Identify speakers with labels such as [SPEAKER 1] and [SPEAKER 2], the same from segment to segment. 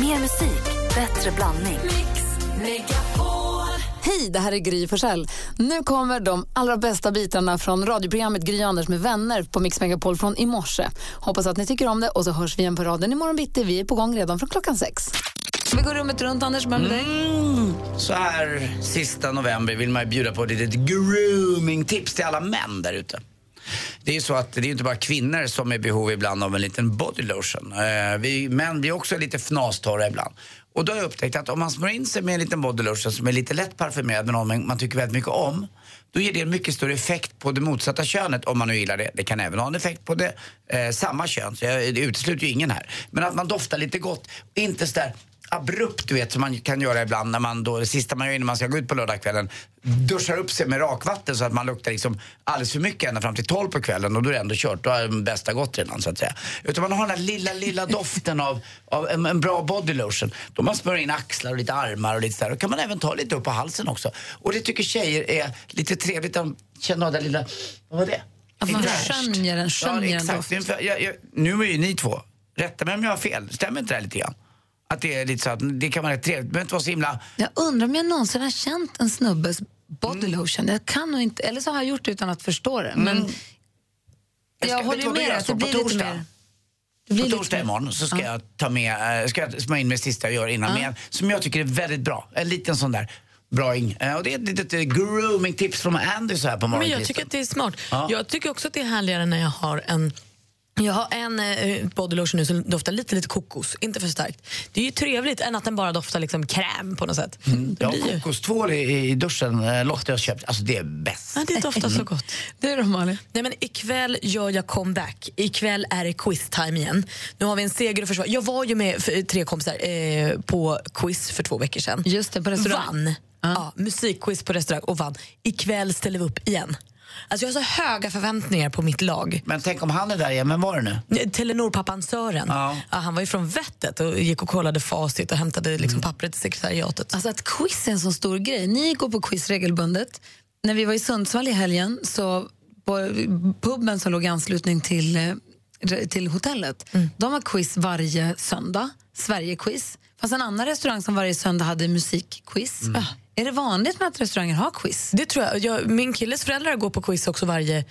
[SPEAKER 1] Mer musik, bättre blandning.
[SPEAKER 2] Hej, det här är Gry Forssell. Nu kommer de allra bästa bitarna från radioprogrammet Gry Anders med vänner på Mix Megapol från i morse. Hoppas att ni tycker om det och så hörs vi igen på raden imorgon bitti. Vi är på gång redan från klockan sex. Vi går rummet runt, Anders. Börja med dig.
[SPEAKER 3] Så här sista november vill man ju bjuda på ett litet grooming-tips till alla män där ute. Det är ju så att det är ju inte bara kvinnor som är i behov ibland av en liten body lotion. Eh, vi män blir också lite fnastorra ibland. Och då har jag upptäckt att om man smörjer in sig med en liten body lotion som är lite lätt parfymerad med någon man tycker väldigt mycket om. Då ger det en mycket större effekt på det motsatta könet om man nu gillar det. Det kan även ha en effekt på det eh, samma kön, så jag, det utesluter ju ingen här. Men att man doftar lite gott, inte sådär abrupt du vet som man kan göra ibland när man då, det sista man gör innan man ska gå ut på lördagskvällen duschar upp sig med rakvatten så att man luktar liksom alldeles för mycket ända fram till 12 på kvällen och då är det ändå kört, då har det bästa gått redan så att säga. Utan man har den här lilla, lilla doften av, av en, en bra body lotion. Då man smörjer in axlar och lite armar och lite sådär. Och kan man även ta lite upp på halsen också. Och det tycker tjejer är lite trevligt, de känner av den lilla, vad var det?
[SPEAKER 2] Att man
[SPEAKER 3] Lite fräscht.
[SPEAKER 2] skönjer den, skönjer
[SPEAKER 3] ja,
[SPEAKER 2] den
[SPEAKER 3] exakt.
[SPEAKER 2] doften.
[SPEAKER 3] Ungefär. Jag, jag, nu är ju ni två, rätta mig om jag har fel, stämmer inte det här lite grann? Att det är lite så att det kan vara rätt trevligt, men inte vara så himla...
[SPEAKER 2] Jag undrar om jag någonsin har känt en snubbes body
[SPEAKER 3] Mm.
[SPEAKER 2] lotion. Jag kan nog inte, eller så har jag gjort det utan att förstå det. Men
[SPEAKER 3] ska-
[SPEAKER 2] jag
[SPEAKER 3] vet
[SPEAKER 2] håller
[SPEAKER 3] du
[SPEAKER 2] ju
[SPEAKER 3] vad du
[SPEAKER 2] med
[SPEAKER 3] gör,
[SPEAKER 2] dig att det
[SPEAKER 3] så? På
[SPEAKER 2] blir lite
[SPEAKER 3] torsdag?
[SPEAKER 2] mer... Det blir
[SPEAKER 3] På
[SPEAKER 2] lite
[SPEAKER 3] torsdag
[SPEAKER 2] mer-
[SPEAKER 3] imorgon så ska jag ta med, eh, ska jag smörja in med det sista jag gör innan med, en som jag tycker är väldigt bra. En liten sån där braing. Eh, Och det är ett litet eh, grooming-tips från Andy så här på
[SPEAKER 4] Men
[SPEAKER 3] morgonen.
[SPEAKER 4] jag tycker att det är smart.
[SPEAKER 3] Ja.
[SPEAKER 4] Jag tycker också att det är härligare när jag har en jag har en eh, body lotion nu som doftar lite, lite kokos, inte för starkt. Det är ju trevligt än att den bara doftar liksom kräm på något sätt.
[SPEAKER 3] Mm. jag har kokostvål i, i duschen, eh, Lotta jag har köpt. Alltså det är bäst.
[SPEAKER 4] Ja, det doftar så gott.
[SPEAKER 2] Du då, Malin?
[SPEAKER 4] Nej, men ikväll gör jag comeback. Ikväll är det quiz-time igen. Nu har vi en seger att försvara. Jag var ju med för, tre kompisar eh, på quiz för två veckor sedan.
[SPEAKER 2] Just det, på restaurang.
[SPEAKER 4] Vann. Ja, musikquiz på restaurang och vann. Ikväll ställer vi upp igen. Alltså jag har så höga förväntningar på mitt lag.
[SPEAKER 3] Men tänk om han är där igen, men var det nu?
[SPEAKER 4] Telenor-pappan Sören,
[SPEAKER 3] Ja.
[SPEAKER 4] ja, han var ju från vettet och gick och kollade facit och hämtade liksom
[SPEAKER 3] Mm.
[SPEAKER 4] pappret till sekretariatet.
[SPEAKER 2] Alltså att quiz är en sån stor grej. Ni går på quiz regelbundet. När vi var i Sundsvall i helgen så på puben som låg i anslutning till, eh, re- till hotellet,
[SPEAKER 4] Mm.
[SPEAKER 2] de har quiz varje söndag. Sverige-quiz. Fast en annan restaurang som varje söndag hade musikquiz. Ah, Är det vanligt med att restauranger har quiz?
[SPEAKER 4] Mm. Det tror jag. jag. Min killes föräldrar går på quiz också varje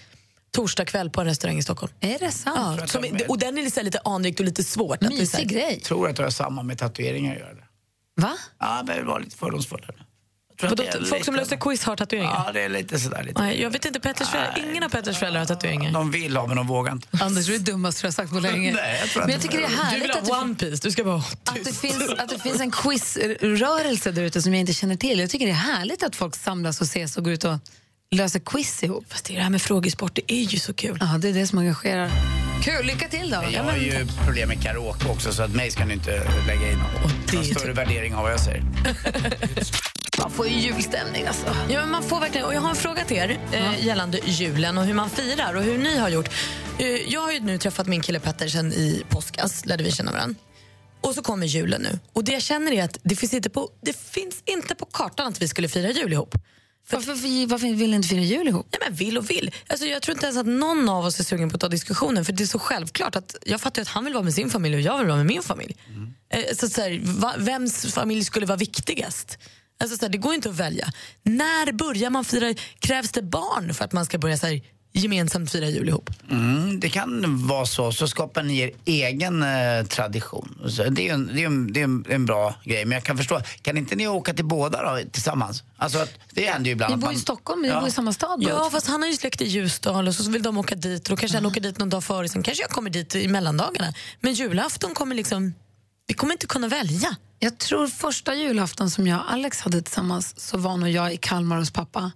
[SPEAKER 4] torsdag kväll på en restaurang i Stockholm.
[SPEAKER 2] Är det sant?
[SPEAKER 4] Ja, som, och den är lite, så här lite anrikt och lite svårt. Att det är så här-
[SPEAKER 2] Mysig grej.
[SPEAKER 3] Tror att det har samma med tatueringar att göra. det.
[SPEAKER 2] Va?
[SPEAKER 3] Ja, men var lite fördomsfull. här nu. Jag tror att
[SPEAKER 4] Vadå,
[SPEAKER 3] det är
[SPEAKER 4] folk som
[SPEAKER 3] lite-
[SPEAKER 4] löser quiz har tatueringar?
[SPEAKER 3] Ja, det är lite sådär. Lite.
[SPEAKER 4] Nej, jag vet inte, Petters föräldrar, ingen av Petters föräldrar har tatueringar.
[SPEAKER 3] De vill ha, men de vågar inte.
[SPEAKER 2] Anders, du är dummast jag sagt på länge.
[SPEAKER 3] länge. Nej, jag tror
[SPEAKER 2] Men jag
[SPEAKER 3] inte
[SPEAKER 2] tycker det är
[SPEAKER 3] det.
[SPEAKER 4] Du vill
[SPEAKER 2] härligt att du
[SPEAKER 4] ha One Piece, du ska vara
[SPEAKER 2] att det,
[SPEAKER 4] tyst.
[SPEAKER 2] finns, att det finns en quizrörelse där ute som jag inte känner till. Jag tycker det är härligt att folk samlas och ses och går ut och löser quiz ihop.
[SPEAKER 4] Fast det är det här med frågesport, det är ju så kul.
[SPEAKER 2] Ja, det är det som engagerar. Kul, lycka till då!
[SPEAKER 3] Jag har ju problem med karaoke också så att mig ska ni inte lägga in någon,
[SPEAKER 4] det
[SPEAKER 3] någon
[SPEAKER 4] är
[SPEAKER 3] större
[SPEAKER 2] typ-
[SPEAKER 3] värdering av vad jag säger.
[SPEAKER 2] Man får ju julstämning alltså.
[SPEAKER 4] Ja, men man får verkligen, och jag har en fråga till er eh, gällande julen och hur man firar och hur ni har gjort. Eh, jag har ju nu träffat min kille Petter sen i påskas, lärde vi känna varandra. Och så kommer julen nu. Och det jag känner är att det finns inte på, det finns inte på kartan att vi skulle fira jul ihop.
[SPEAKER 2] Varför, varför, varför vill ni inte fira jul ihop?
[SPEAKER 4] Nej, men vill och vill. Alltså, jag tror inte ens att någon av oss är sugen på att ta diskussionen. För det är så självklart att Jag fattar ju att han vill vara med sin familj och jag vill vara med min familj.
[SPEAKER 2] Mm.
[SPEAKER 4] Eh, Så, att så här, va, vems familj skulle vara viktigast? Alltså, så här, det går ju inte att välja. När börjar man fira? Krävs det barn för att man ska börja så här, gemensamt fira jul ihop?
[SPEAKER 3] Mm, det kan vara så, så skapar ni er egen eh, tradition. Så det är ju en, det är ju en, det är en, en bra grej, men jag kan förstå. Kan inte ni åka till båda då, tillsammans? Alltså, att, det händer ju ibland.
[SPEAKER 2] Ni
[SPEAKER 3] att
[SPEAKER 2] bor
[SPEAKER 3] man-
[SPEAKER 2] i Stockholm, ni
[SPEAKER 3] Ja.
[SPEAKER 2] bor i samma stad. båda
[SPEAKER 4] Ja,
[SPEAKER 2] två.
[SPEAKER 4] fast han har ju släkt i Ljusdal och så så vill de åka dit. Och då kanske han åker dit någon dag före, sen kanske jag kommer dit i mellandagarna. Men julafton kommer liksom... Vi kommer inte kunna välja.
[SPEAKER 2] Jag tror första julafton som jag och Alex hade tillsammans så var nog jag i Kalmar hos pappa.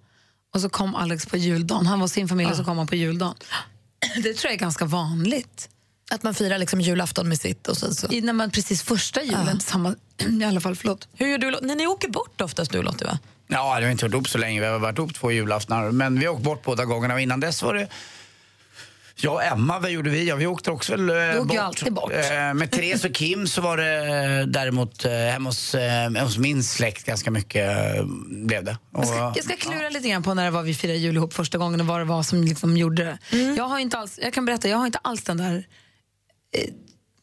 [SPEAKER 2] Och så kom Alex på juldagen. Han var hos sin familj och så kom han på juldagen. Det tror jag är ganska vanligt.
[SPEAKER 4] Att man firar liksom julafton med sitt och sen så.
[SPEAKER 2] I, när man precis första julen tillsammans, i alla fall, förlåt.
[SPEAKER 4] Hur gör du? Lo- När ni åker bort oftast du Lottie va?
[SPEAKER 3] Ja, det har inte varit upp så länge. Vi har varit upp två julaftnar. Men vi har åkt bort båda gångerna. Och innan dess var det jag och Emma, vad gjorde vi? Ja, vi åkte också väl eh,
[SPEAKER 2] åker ju
[SPEAKER 3] bort.
[SPEAKER 2] alltid bort.
[SPEAKER 3] Eh, med Therese och Kim så var det eh, däremot eh, hemma hos, eh, hos min släkt ganska mycket eh, blev det. Och,
[SPEAKER 2] Jag ska, jag ska klura lite grann på när det var vi firade jul ihop första gången och vad det var som liksom gjorde det. Jag, har inte alls, jag kan berätta, jag har inte alls den där eh,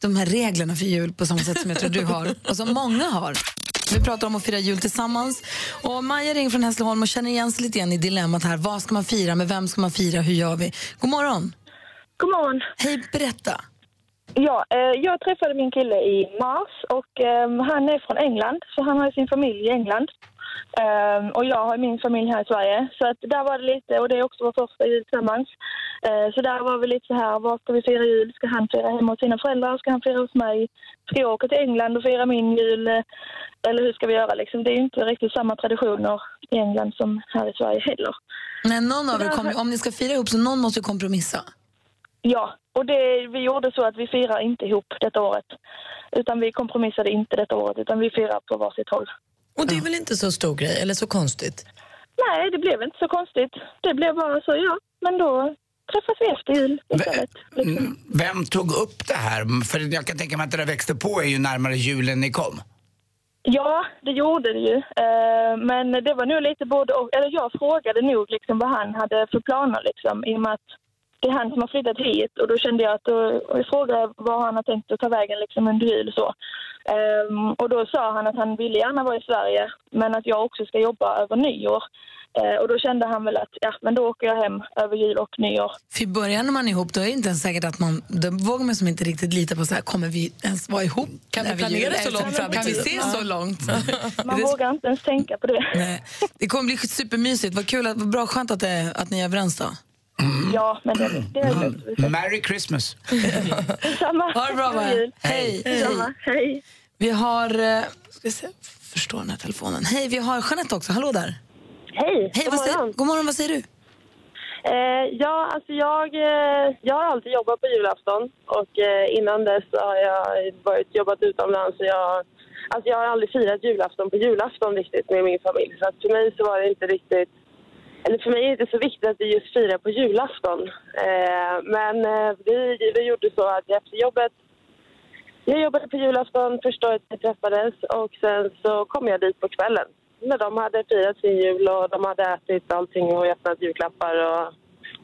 [SPEAKER 2] de här reglerna för jul på samma sätt som jag tror du har och som många har. Vi pratar om att fira jul tillsammans. Och Maja ringer från Hässleholm och känner igen sig lite igen i dilemmat här. Vad ska man fira? Med vem ska man fira? Hur gör vi? God morgon!
[SPEAKER 5] God morgon.
[SPEAKER 2] Hej, berätta!
[SPEAKER 5] Ja, eh, jag träffade min kille i mars och eh, han är från England så han har ju sin familj i England. Eh, och jag har min familj här i Sverige. Så att där var det lite, och det är också vår första jul tillsammans. Eh, så där var vi lite så här, var ska vi fira jul? Ska han fira hemma hos sina föräldrar? Ska han fira hos mig? Ska jag åka till England och fira min jul? Eh, Eller hur ska vi göra liksom? Det är ju inte riktigt samma traditioner i England som här i Sverige heller.
[SPEAKER 2] Nej, någon av er kommer, om ni ska fira ihop så någon måste ju kompromissa.
[SPEAKER 5] Ja, och det, vi gjorde så att vi firar inte ihop detta året. Utan vi kompromissade inte detta året, utan vi firar på varsitt håll.
[SPEAKER 4] Och det är väl inte så stor grej, eller så konstigt?
[SPEAKER 5] Nej, det blev inte så konstigt. Det blev bara så, ja. Men då träffas vi efter jul istället.
[SPEAKER 3] Mm, Vem tog upp det här? För jag kan tänka mig att det där växte på är ju närmare julen ni kom.
[SPEAKER 5] Ja, det gjorde det ju. Eh, Men det var nog lite både och. Eller jag frågade nog liksom vad han hade för planer liksom, i och med att det är han som har flyttat hit och då kände jag att då, och jag frågade vad han har tänkt att ta vägen liksom under jul och så. Ehm, och då sa han att han ville gärna vara i Sverige men att jag också ska jobba över nyår. Eh, och då kände han väl att ja, men då åker jag hem över jul och nyår.
[SPEAKER 2] För i början när man är ihop, då är det inte ens säkert att man, då vågar man som inte riktigt lita på så här, kommer vi ens vara ihop?
[SPEAKER 4] Kan vi
[SPEAKER 2] över
[SPEAKER 4] planera
[SPEAKER 2] jul?
[SPEAKER 4] så långt fram i
[SPEAKER 2] Kan vi
[SPEAKER 4] tiden?
[SPEAKER 2] se
[SPEAKER 4] Ja.
[SPEAKER 2] så långt?
[SPEAKER 5] Man
[SPEAKER 2] Det-
[SPEAKER 5] vågar inte ens tänka på det.
[SPEAKER 2] Nej. Det kommer bli supermysigt. Vad kul, att, vad bra, skönt att, det, att ni är överens då.
[SPEAKER 5] Ja, men det, det är lugnt.
[SPEAKER 3] Mm. Merry Christmas.
[SPEAKER 5] Detsamma.
[SPEAKER 2] Ha det bra,
[SPEAKER 5] God
[SPEAKER 2] va?
[SPEAKER 5] jul.
[SPEAKER 2] Hej.
[SPEAKER 5] Detsamma. Hej.
[SPEAKER 2] Vi har, eh, ska vi se, förstår den här telefonen. Hej, vi har Jeanette också, hallå där.
[SPEAKER 5] Hej,
[SPEAKER 2] Hej,
[SPEAKER 5] god
[SPEAKER 2] vad säger,
[SPEAKER 5] morgon.
[SPEAKER 2] god morgon, vad säger du?
[SPEAKER 5] Eh, ja, alltså jag, eh, jag har alltid jobbat på julafton och eh, innan dess så har jag varit, jobbat utomlands. Och jag, alltså jag har aldrig firat julafton på julafton riktigt med min familj. Så att för mig så var det inte riktigt, eller för mig är det inte så viktigt att vi just firar på julafton. Eh, men eh, vi, vi gjorde så att efter jobbet jag jobbade på julafton första året vi träffades och sen så kom jag dit på kvällen. När de hade firat sin jul och de hade ätit allting och öppnat julklappar och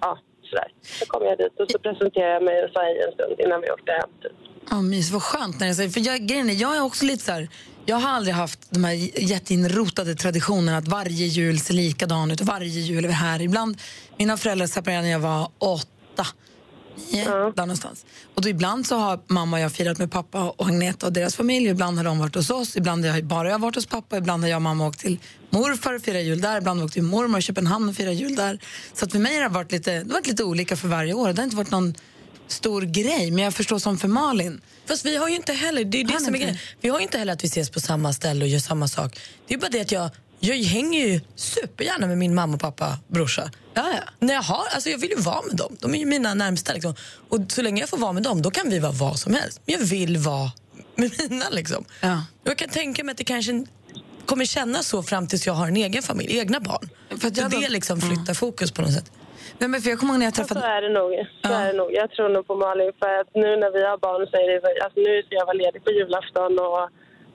[SPEAKER 5] ja, sådär. Så kom jag dit och så presenterade jag mig och sa hej en stund innan vi åkte hem. Typ.
[SPEAKER 2] Ja, mys, vad skönt när det säger. För jag, grejen är, jag är också lite så här, jag har aldrig haft de här j- jätteinrotade traditionerna att varje jul ser likadan ut och varje jul är vi här. Ibland, mina föräldrar separerade när jag var åtta, nio, där någonstans. Och då ibland så har mamma och jag firat med pappa och Agneta och deras familj. Ibland har de varit hos oss, ibland har jag bara jag varit hos pappa, ibland har jag och mamma åkt till morfar och firat jul där, ibland har vi åkt till mormor i Köpenhamn och firat jul där. Så att för mig har det varit lite, det har varit lite olika för varje år. Det har inte varit någon stor grej, men jag förstår som för Malin.
[SPEAKER 4] Fast vi har ju inte heller, det är ju det
[SPEAKER 2] Har ni
[SPEAKER 4] som är
[SPEAKER 2] inte?
[SPEAKER 4] grejen. Vi har ju inte heller att vi ses på samma ställe och gör samma sak. Det är bara det att jag, jag hänger ju supergärna med min mamma och pappa brorsa.
[SPEAKER 2] Ja, ja.
[SPEAKER 4] När jag, har, alltså jag vill ju vara med dem. De är ju mina närmsta. Liksom. Och så länge jag får vara med dem, då kan vi vara vad som helst. Men jag vill vara med mina. Liksom.
[SPEAKER 2] Ja.
[SPEAKER 4] Och jag kan tänka mig att det kanske kommer kännas så fram tills jag har en egen familj, egna barn.
[SPEAKER 2] För att jag
[SPEAKER 4] så
[SPEAKER 2] då-
[SPEAKER 4] det liksom flyttar fokus på något sätt.
[SPEAKER 2] Nej, men för jag kommer ihåg när jag
[SPEAKER 5] Så
[SPEAKER 2] träffade...
[SPEAKER 5] är det nog. Så
[SPEAKER 2] Ja.
[SPEAKER 5] är det nog. Jag tror nog på Malin för att nu när vi har barn så är det så- alltså nu ska jag vara ledig på julafton och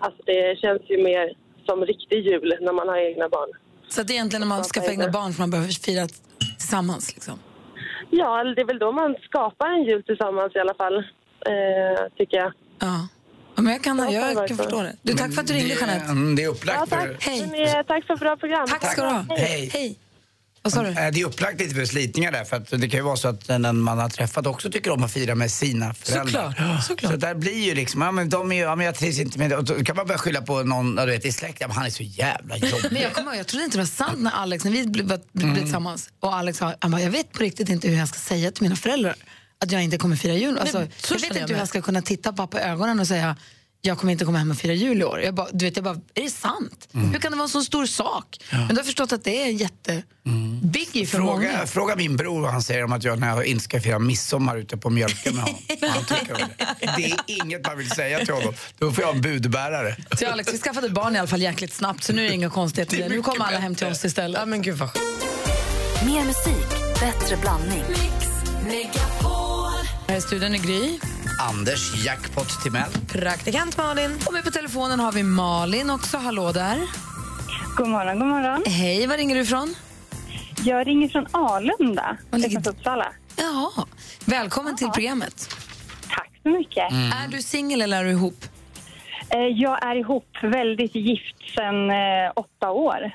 [SPEAKER 5] alltså det känns ju mer som riktig jul när man har egna barn.
[SPEAKER 2] Så att det är egentligen när man ska egna barn som man behöver fira t- tillsammans. Liksom.
[SPEAKER 5] Ja, eller det är väl då man skapar en jul tillsammans i alla fall, eh, tycker jag.
[SPEAKER 2] Ja. ja. Men jag kan,
[SPEAKER 5] Ja,
[SPEAKER 2] jag kan
[SPEAKER 5] verkligen.
[SPEAKER 2] förstå det. Du, tack för att du ringde,
[SPEAKER 3] Det-
[SPEAKER 2] Jeanette.
[SPEAKER 3] mm, Det är upplagt för...
[SPEAKER 2] Hej.
[SPEAKER 5] Hörni, tack för ett bra program.
[SPEAKER 2] Tack ska du ha.
[SPEAKER 3] Hej.
[SPEAKER 2] Hej. Vad sa du?
[SPEAKER 3] Eh, Det är upplagt lite för slitningar där, för att det kan ju vara så att den man har träffat också tycker om att fira med sina föräldrar.
[SPEAKER 4] Såklart, såklart.
[SPEAKER 3] Så där blir ju liksom, ja men de är ju, ja men jag trivs inte med det. Och då kan man börja skylla på någon, ja, du vet, i släkt, ja men han är så jävla
[SPEAKER 2] Men
[SPEAKER 3] jobbig.
[SPEAKER 2] jag kommer ihåg, jag trodde inte det var sant när Alex, när vi blev, blev
[SPEAKER 4] Mm.
[SPEAKER 2] tillsammans och Alex sa, han bara, jag vet på riktigt inte hur jag ska säga till mina föräldrar att jag inte kommer fira jul. Alltså,
[SPEAKER 4] Nej, så
[SPEAKER 2] jag vet
[SPEAKER 4] känner
[SPEAKER 2] inte
[SPEAKER 4] jag
[SPEAKER 2] hur
[SPEAKER 4] med.
[SPEAKER 2] jag ska kunna titta pappa i ögonen och säga, jag kommer inte komma hem och fira jul i år. Jag bara, du vet, jag bara, är det sant?
[SPEAKER 4] Mm.
[SPEAKER 2] Hur kan det vara en så stor sak? Men då har jag förstått att det är jätte Mm. biggie för många.
[SPEAKER 3] Fråga, fråga min bror vad han säger om att jag när jag inte ska fira midsommar ute på mjölken med honom. Vad Han tycker om det. det är inget man vill säga till honom. Då får jag en budbärare.
[SPEAKER 2] Så Alex, vi skaffade barn i alla fall jäkligt snabbt så nu är det inga konstigheter.
[SPEAKER 3] Det är
[SPEAKER 2] med det. Nu
[SPEAKER 3] mycket
[SPEAKER 2] kommer alla hem till
[SPEAKER 3] bättre.
[SPEAKER 2] oss istället.
[SPEAKER 4] Ja, men gud vad skönt.
[SPEAKER 1] Mer musik, bättre blandning.
[SPEAKER 2] Här i studion är Gry.
[SPEAKER 3] Anders Jackpot Timell.
[SPEAKER 4] Praktikant Malin.
[SPEAKER 2] Och med på telefonen har vi Malin också. Hallå där.
[SPEAKER 6] God morgon, god morgon.
[SPEAKER 2] Hej, var ringer du ifrån?
[SPEAKER 6] Jag ringer från Alunda,
[SPEAKER 2] Vad ligger-
[SPEAKER 6] utanför Uppsala.
[SPEAKER 2] Jaha. Välkommen till programmet. Mm.
[SPEAKER 6] Tack så mycket.
[SPEAKER 2] Är du singel eller är du ihop?
[SPEAKER 6] Eh, Jag är ihop, väldigt gift sedan eh, åtta år.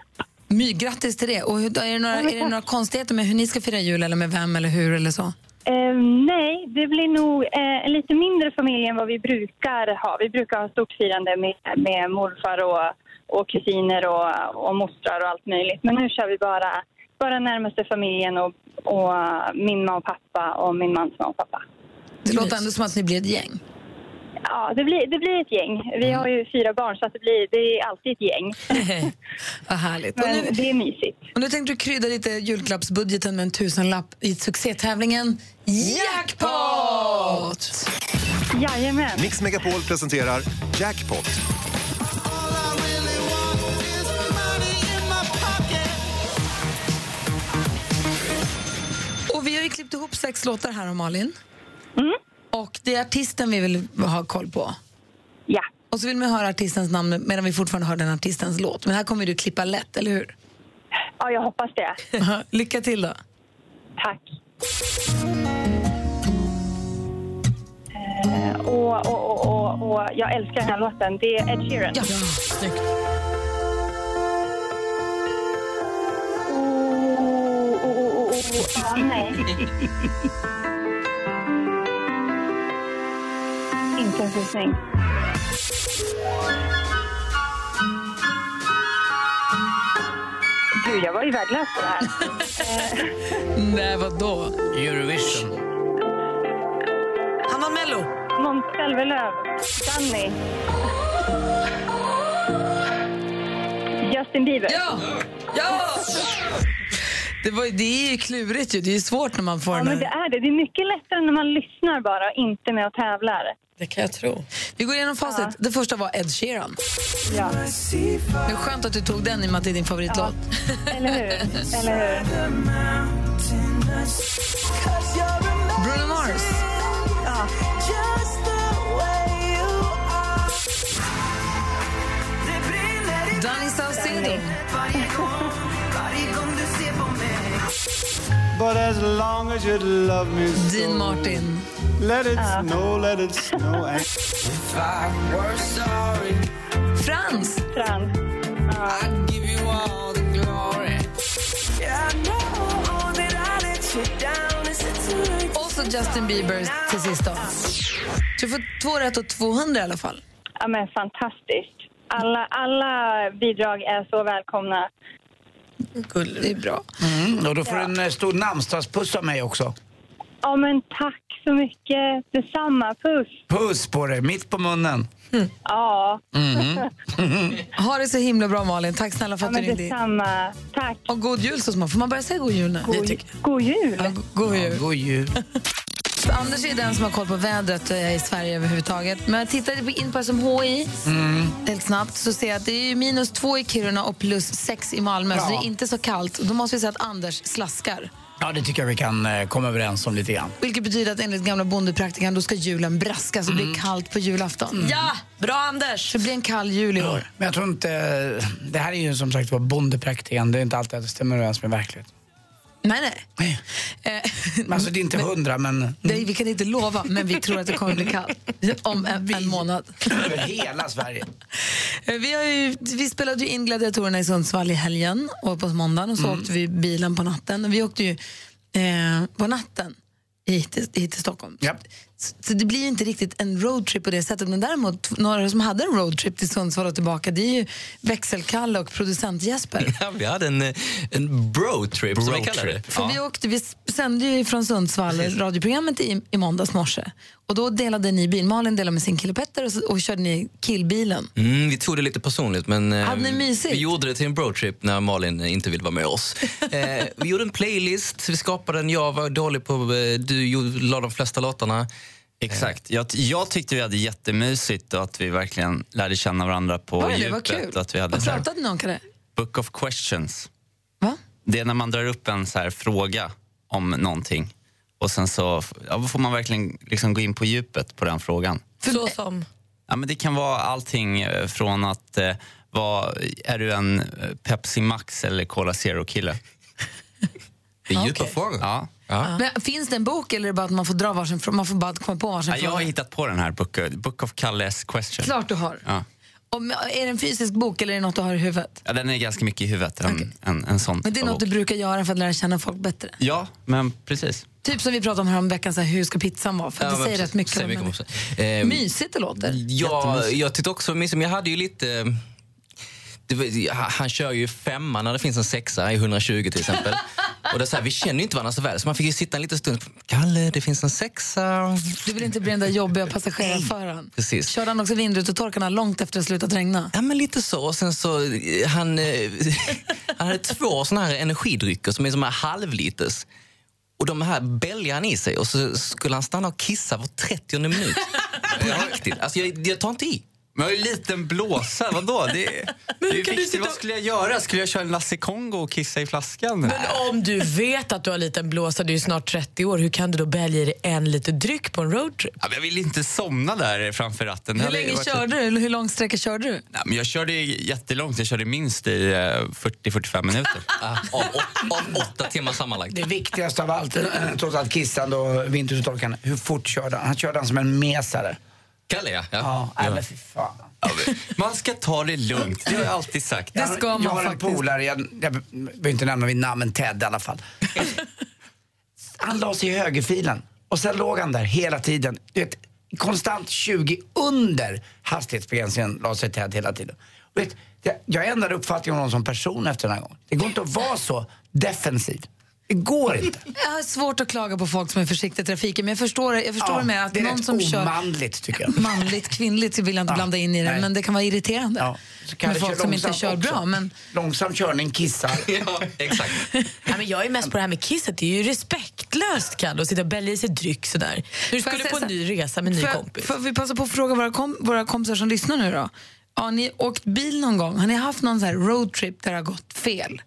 [SPEAKER 2] My, grattis till det. Och hur, är, det några, är det några konstigheter med hur ni ska fira jul eller med vem eller hur eller så?
[SPEAKER 6] Eh, nej, det blir nog eh, en lite mindre familj än vad vi brukar ha. Vi brukar ha stort firande med, med morfar och, och kusiner och, och mostrar och allt möjligt. Men nu kör vi bara, bara närmaste familjen och, och min mamma och pappa och min mans mamma och pappa.
[SPEAKER 2] Det låter ändå som att ni blir ett gäng.
[SPEAKER 6] Ja, det blir, det blir ett gäng. Vi har ju fyra barn så att det, blir, det är alltid ett gäng.
[SPEAKER 2] Vad härligt. Och
[SPEAKER 6] Men
[SPEAKER 2] nu,
[SPEAKER 6] det är mysigt.
[SPEAKER 2] och nu tänkte du krydda lite julklappsbudgeten med en tusenlapp i succétävlingen Jackpot!
[SPEAKER 6] Jajamän.
[SPEAKER 7] Mix Megapol presenterar Jackpot.
[SPEAKER 2] Och vi har ju klippt ihop sex låtar här om Malin.
[SPEAKER 6] Mm.
[SPEAKER 2] Och det är artisten vi vill ha koll på.
[SPEAKER 6] Ja,
[SPEAKER 2] Och så vill man höra artistens namn medan vi fortfarande hör den artistens låt. Men här kommer du klippa lätt, eller hur?
[SPEAKER 6] ja jag hoppas det.
[SPEAKER 2] Lycka till då.
[SPEAKER 6] Tack. Eh, Och, och, och, och, och jag älskar den här låten. Det är Ed Sheeran.
[SPEAKER 2] Ja.
[SPEAKER 6] Oh, oh, oh, oh, oh. Ja, nej. Inte en susning. Gud, jag var ju värdelös på det här.
[SPEAKER 2] Nej, vadå?
[SPEAKER 3] Eurovision.
[SPEAKER 4] Han vann Mello.
[SPEAKER 6] Måns Zelmerlöw. Danny. Justin Bieber.
[SPEAKER 2] Ja! Ja! Det, var, det är ju klurigt ju. Det är ju svårt när man får
[SPEAKER 6] Ja,
[SPEAKER 2] den
[SPEAKER 6] men det
[SPEAKER 2] här.
[SPEAKER 6] är det. Det är mycket lättare när man lyssnar bara och inte med och tävlar.
[SPEAKER 4] Det kan jag tro.
[SPEAKER 2] Vi går igenom facit. Det första var Ed Sheeran.
[SPEAKER 6] Ja.
[SPEAKER 2] Det är skönt att du tog den i och med att det är din favoritlåt.
[SPEAKER 6] Eller hur? Eller hur?
[SPEAKER 2] Bruno Mars. Danny Saucedo.
[SPEAKER 8] But as long as you love me so,
[SPEAKER 2] Dean Martin.
[SPEAKER 8] let it snow, let it snow. And
[SPEAKER 2] Frans.
[SPEAKER 6] Frans.
[SPEAKER 2] Och så Justin Bieber till sist. Då. Så du får två rätt och 200 i alla fall.
[SPEAKER 6] Ja, men fantastiskt. Alla, alla bidrag är så välkomna.
[SPEAKER 2] Det är bra.
[SPEAKER 3] Mm, och då får du en eh, stor namnsdagspuss av mig också.
[SPEAKER 6] Ja, men tack så mycket. Detsamma. Puss.
[SPEAKER 3] Puss på dig, mitt på munnen. Mm-hmm.
[SPEAKER 6] Ja,
[SPEAKER 2] Mm. Ha det så himla bra, Malin. Tack snälla för
[SPEAKER 6] ja
[SPEAKER 2] att du
[SPEAKER 6] men
[SPEAKER 2] ringde in.
[SPEAKER 6] detsamma. Tack.
[SPEAKER 2] Och god jul så småningom. Får man börja säga god jul nu?
[SPEAKER 6] God, god jul.
[SPEAKER 2] Ja, god jul.
[SPEAKER 3] God jul.
[SPEAKER 2] Anders är den som har koll på vädret eh, i Sverige överhuvudtaget. Men jag tittade på- in på SMHI
[SPEAKER 3] Mm.
[SPEAKER 2] helt snabbt så ser jag att det är ju minus två i Kiruna och plus sex i Malmö. Så det är inte så kallt. Då måste vi säga att Anders slaskar.
[SPEAKER 3] Ja, det tycker jag vi kan eh, komma överens om lite grann.
[SPEAKER 2] Vilket betyder att enligt gamla bondepraktikan då ska julen braska så det
[SPEAKER 3] Mm.
[SPEAKER 2] blir kallt på julafton.
[SPEAKER 4] Ja, bra Anders.
[SPEAKER 2] Det blir en kall jul i år.
[SPEAKER 3] Men jag tror inte... eh, Det här är ju som sagt var bondepraktiken. Det är inte alltid att det stämmer överens med verkligheten.
[SPEAKER 2] Nej, nej. Eh,
[SPEAKER 3] Men alltså det är inte hundra, men...
[SPEAKER 2] nej, vi kan inte lova, men vi tror att det kommer bli kallt om en, en månad.
[SPEAKER 3] Över hela Sverige.
[SPEAKER 2] Eh, Vi, har ju, vi spelade ju in Gladiatorerna i Sundsvall i helgen och på måndagen och så åkte vi bilen på natten. Vi åkte ju eh, på natten hit till, hit till Stockholm.
[SPEAKER 3] Ja.
[SPEAKER 2] Så, så det blir ju inte riktigt en roadtrip på det sättet. Men däremot, några som hade en roadtrip till Sundsvall och tillbaka det är ju växelkalle och producent Jesper.
[SPEAKER 9] Ja, vi hade en, eh, en bro-trip som vi kallar det.
[SPEAKER 2] För vi, åkte, vi sände ju från Sundsvall radioprogrammet i, i måndags morse. Och då delade ni bil. Malin delade med sin kille Petter och, så, och körde ni killbilen.
[SPEAKER 9] Mm, vi tog det lite personligt, men eh,
[SPEAKER 2] Hade ni mysigt?
[SPEAKER 9] vi gjorde det till en broadtrip när Malin eh, inte ville vara med oss. Eh, vi gjorde en playlist, vi skapade den. Jag var dålig på... eh, Du gjorde- la de flesta låtarna.
[SPEAKER 10] Exakt. Jag, jag tyckte vi hade jättemysigt och att vi verkligen lärde känna varandra på
[SPEAKER 2] Var det det?
[SPEAKER 10] djupet.
[SPEAKER 2] Vad kul.
[SPEAKER 10] Att vi hade
[SPEAKER 2] och
[SPEAKER 10] så här,
[SPEAKER 2] pratade ni om det?
[SPEAKER 10] book of questions.
[SPEAKER 2] Va?
[SPEAKER 10] Det är när man drar upp en så här fråga om någonting och sen så ja, då får man verkligen liksom gå in på djupet på den frågan.
[SPEAKER 4] Så som.
[SPEAKER 10] Ja, men det kan vara allting eh, från att eh, vad, är du en eh, Pepsi Max eller Cola Zero-kille?
[SPEAKER 9] Det är djupa frågor.
[SPEAKER 10] Ja. Ja.
[SPEAKER 2] Men finns det en bok eller är det bara att man får, dra varsin, frå- man får bara komma på varsin
[SPEAKER 10] Ja, jag har
[SPEAKER 2] fråga?
[SPEAKER 10] hittat på den här, Book, Book of Kalles Question.
[SPEAKER 2] Alltså, Klart du har.
[SPEAKER 10] Ja.
[SPEAKER 2] Om, är det en fysisk bok eller är det något du har i huvudet?
[SPEAKER 10] Ja, den är ganska mycket i huvudet, en, en, en sån
[SPEAKER 2] Men det är
[SPEAKER 10] typ av
[SPEAKER 2] något du
[SPEAKER 10] bok.
[SPEAKER 2] brukar göra för att lära känna folk bättre.
[SPEAKER 10] Ja, men precis.
[SPEAKER 2] Typ som vi pratade om häromveckan, så här, hur ska pizzan vara? För
[SPEAKER 9] Ja,
[SPEAKER 2] det
[SPEAKER 9] men
[SPEAKER 2] säger rätt
[SPEAKER 9] precis.
[SPEAKER 2] mycket
[SPEAKER 9] Säger
[SPEAKER 2] om
[SPEAKER 9] mycket
[SPEAKER 2] en.
[SPEAKER 9] om- Ehm,
[SPEAKER 2] Mysigt det låter.
[SPEAKER 9] Ja, jag tyckte också men Jag hade ju lite... Det, var- han kör ju femma när det finns en sexa i 120 till exempel. Och det är så här, vi känner ju inte varandra så väl, så man fick ju sitta en liten stund. Kalle, det finns en sexa.
[SPEAKER 2] Du vill inte bli den där jobbiga passagerarföraren.
[SPEAKER 9] Precis.
[SPEAKER 2] Körde han också vindrutetorkarna långt efter det slutat regna?
[SPEAKER 9] Ja, men lite så. Och sen så, eh, han, eh, han hade två såna här energidrycker som är som här halvliters. Och de här bälgar han i sig och så skulle han stanna och kissa var 30 minut. På riktigt. Alltså, jag, jag tar inte i.
[SPEAKER 10] Men jag har ju en liten blåsa, vadå? Det, det är ju viktigt. Vad skulle jag göra? Skulle jag köra en Lasse Kongo och kissa i flaskan?
[SPEAKER 4] Men om du vet att du har liten blåsa, du är ju snart 30 år, hur kan du då bälga i dig en lite dryck på en roadtrip?
[SPEAKER 10] Ja, men jag vill inte somna där framför ratten. Det
[SPEAKER 2] Hur
[SPEAKER 10] hade
[SPEAKER 2] länge
[SPEAKER 10] varit-
[SPEAKER 2] körde du? Eller hur lång sträcka körde du?
[SPEAKER 10] Ja, men jag körde jättelångt. Jag körde minst i eh, 40-45 minuter.
[SPEAKER 9] Ah, Av, av åtta timmar sammanlagt.
[SPEAKER 3] Det viktigaste av allt, eh, trots allt kissan och vintertorkan, hur fort körde han? Han körde han som en mesare.
[SPEAKER 9] Kalle, ja.
[SPEAKER 3] Ja, nej, men fy fan.
[SPEAKER 10] Man ska ta det lugnt, det har jag alltid sagt.
[SPEAKER 2] Det ska
[SPEAKER 3] jag
[SPEAKER 2] man
[SPEAKER 3] har
[SPEAKER 2] faktiskt.
[SPEAKER 3] en polare, jag, jag vill inte nämna mitt namn, men Ted i alla fall. Han la sig i högerfilen och sen låg han där hela tiden. Du vet, konstant 20 under hastighetsbegränsningen la sig Ted hela tiden. Och Vet, jag- jag ändrade uppfattning om honom som person efter den här gången. Det går inte att vara så defensiv. Det går inte.
[SPEAKER 2] Jag har svårt att klaga på folk som är försiktiga i trafiken, men jag förstår, det- jag förstår det med att
[SPEAKER 3] det är
[SPEAKER 2] någon
[SPEAKER 3] rätt
[SPEAKER 2] som kör
[SPEAKER 3] omanligt tycker jag.
[SPEAKER 2] manligt, kvinnligt vill jag inte
[SPEAKER 3] Ja,
[SPEAKER 2] blanda in i det,
[SPEAKER 3] nej.
[SPEAKER 2] men det kan vara irriterande.
[SPEAKER 3] Ja. Så kan
[SPEAKER 2] Med
[SPEAKER 3] det
[SPEAKER 2] folk
[SPEAKER 3] köra
[SPEAKER 2] som inte
[SPEAKER 3] långsamt
[SPEAKER 2] kör
[SPEAKER 3] också.
[SPEAKER 2] bra. Men
[SPEAKER 3] Långsam körning kissar.
[SPEAKER 9] ja exakt.
[SPEAKER 4] Ja, men jag är mest på det här med kisset, det är ju respektlöst Kalle att sitta och bälja i sig dryck sådär. Du
[SPEAKER 2] Får jag
[SPEAKER 4] skulle
[SPEAKER 2] säga
[SPEAKER 4] på en
[SPEAKER 2] så här?
[SPEAKER 4] ny resa med en ny
[SPEAKER 2] Får jag-
[SPEAKER 4] kompis.
[SPEAKER 2] Får vi passa på att fråga våra, kom, våra kompisar som lyssnar nu då? Har ni åkt bil någon gång? Har ni haft någon så här roadtrip där det har gått fel?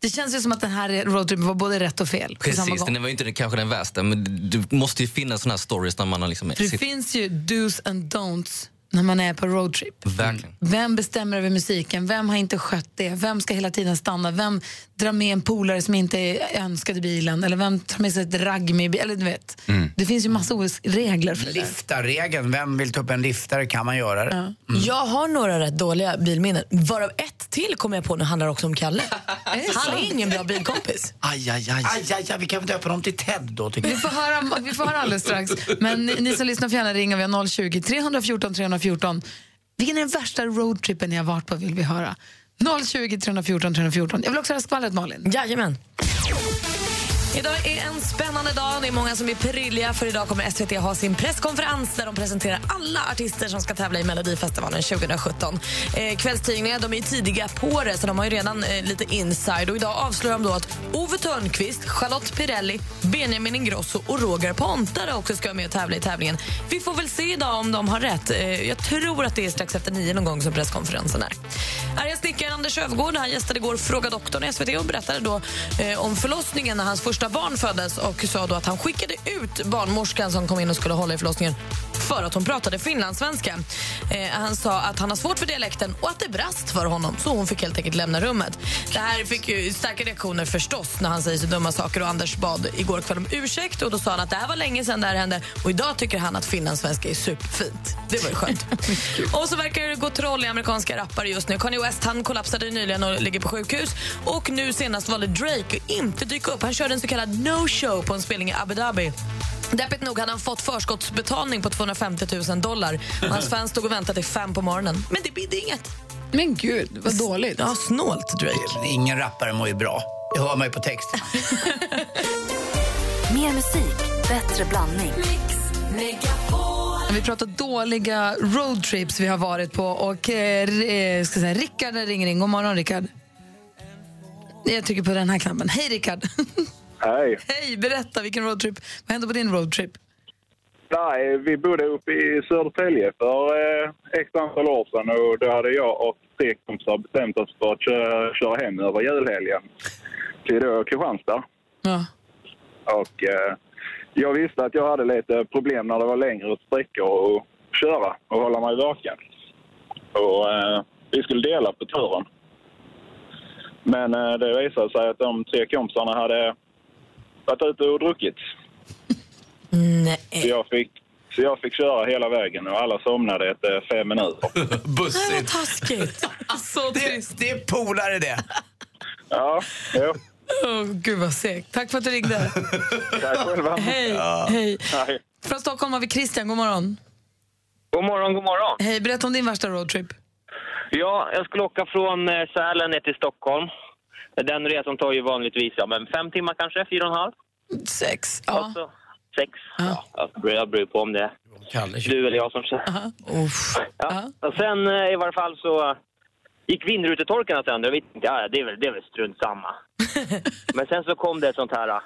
[SPEAKER 2] Det känns ju som att den här roadtripen var både rätt och fel. på samma
[SPEAKER 9] Precis,
[SPEAKER 2] gång.
[SPEAKER 9] den var ju inte den, kanske den värsta, men det måste ju finnas såna här stories när man har liksom...
[SPEAKER 2] För det
[SPEAKER 9] sitt-
[SPEAKER 2] finns ju do's and don'ts när man är på roadtrip.
[SPEAKER 9] Verkligen.
[SPEAKER 2] Vem bestämmer över musiken? Vem har inte skött det? Vem ska hela tiden stanna? Vem drar med en polare som inte är önskad i bilen? Eller vem tar med sig ett ragg med i bilen? Eller du vet.
[SPEAKER 3] Mm.
[SPEAKER 2] Det finns ju massa olika regler för det där.
[SPEAKER 3] Liftarregeln, vem vill ta upp en liftare kan man göra det.
[SPEAKER 4] Mm. Jag har några rätt dåliga bilminnen, varav ett till kommer jag på nu handlar också om Kalle. Han är ingen bra bilkompis.
[SPEAKER 9] Aj, aj, aj.
[SPEAKER 3] Aj, aj, aj, vi kan väl döpa dem till Ted då tycker
[SPEAKER 2] Vi
[SPEAKER 3] jag.
[SPEAKER 2] får, höra, vi får höra alldeles strax. Men ni, ni som lyssnar får gärna ringa. Vi har 020 314 314. Vilken är den värsta roadtrippen ni har varit på vill vi höra. 020 314 314. Jag vill också höra skvallret, Malin.
[SPEAKER 4] Jajamän. Idag är en spännande dag. Det är många som är prilliga för idag kommer SVT ha sin presskonferens där de presenterar alla artister som ska tävla i Melodifestivalen 2017. Eh, kvällstidningar de är ju tidiga på det så de har ju redan eh, lite inside. Och idag avslöjar de då att Ove Thörnqvist, Charlotte Pirelli, Benjamin Ingrosso och Roger Pontare också ska vara med och tävla i tävlingen. Vi får väl se idag om de har rätt. Eh, jag tror att det är strax efter nio någon gång som presskonferensen är. Arga snickaren Anders Öfvergård han gästade igår Fråga doktorn i SVT och berättade då eh, om förlossningen när hans första barn föddes och sa då att han skickade ut barnmorskan som kom in och skulle hålla i förlossningen för att hon pratade finlandssvenska. Eh, han sa att han har svårt för dialekten och att det brast för honom så hon fick helt enkelt lämna rummet. Det här fick ju starka reaktioner förstås när han säger så dumma saker och Anders bad igår kväll om ursäkt och då sa han att det här var länge sedan det här hände och idag tycker han att finlandssvenska är superfint. Det var ju skönt. och så verkar det gå troll i amerikanska rappare just nu. Kanye West han kollapsade ju nyligen och ligger på sjukhus och nu senast valde Drake att inte dyka upp. Han körde en så kallad no-show på en spelning i Abu Dhabi. Deppigt nog hade han fått förskottsbetalning på 250 000 dollar. Och Hans fans stod och väntade till fem på morgonen. Men det bidde inget.
[SPEAKER 2] Men gud, vad dåligt.
[SPEAKER 4] Ja, snålt Drake.
[SPEAKER 3] Ingen rappare mår ju bra. Det hör man ju på texten.
[SPEAKER 1] Mer musik, bättre blandning.
[SPEAKER 2] Vi pratar dåliga roadtrips vi har varit på. Och eh, eh, ska säga, Rickard ringer in. God morgon, Rickard. Jag trycker på den här knappen. Hej, Rickard.
[SPEAKER 11] Hej.
[SPEAKER 2] Hej, berätta vilken roadtrip. Vad hände på din roadtrip?
[SPEAKER 11] Nej, vi bodde uppe i Södertälje för eh, x antal år sedan och då hade jag och tre kompisar bestämt oss för att köra, köra hem över julhelgen till då Kristianstad.
[SPEAKER 2] Ja.
[SPEAKER 11] Och eh, jag visste att jag hade lite problem när det var längre sträckor att köra och hålla mig vaken. Och eh, vi skulle dela på turen. Men eh, det visade sig att de tre kompisarna hade varit ute och druckit.
[SPEAKER 4] Nej.
[SPEAKER 11] Så jag fick, så jag fick köra hela vägen och alla somnade efter fem minuter.
[SPEAKER 3] Bussigt.
[SPEAKER 4] Taskigt. Så trist.
[SPEAKER 3] Det är polare det.
[SPEAKER 11] Ja, ja.
[SPEAKER 4] Åh, Gud vad segt. Tack för att du ringde.
[SPEAKER 11] Tack själva.
[SPEAKER 4] Hej,
[SPEAKER 11] Ja.
[SPEAKER 4] hej.
[SPEAKER 11] Hej.
[SPEAKER 4] Från Stockholm har vi Christian, god morgon.
[SPEAKER 12] God morgon, god morgon.
[SPEAKER 4] Hej, berätta om din värsta roadtrip.
[SPEAKER 12] Ja, jag skulle åka från eh, Sälen ner till Stockholm. Den resan tar ju vanligtvis ja, men fem timmar kanske, fyra och en halv.
[SPEAKER 4] Sex. Ja.
[SPEAKER 12] Så, sex. Ja. jag beror- jag beror på om det är du eller jag som kör. Ja. Och sen eh, i varje fall så eh, gick vindrutetorkarna sönder. Jag vet inte, ja, det, är väl, det är väl strunt samma. men sen så kom det ett sånt här eh,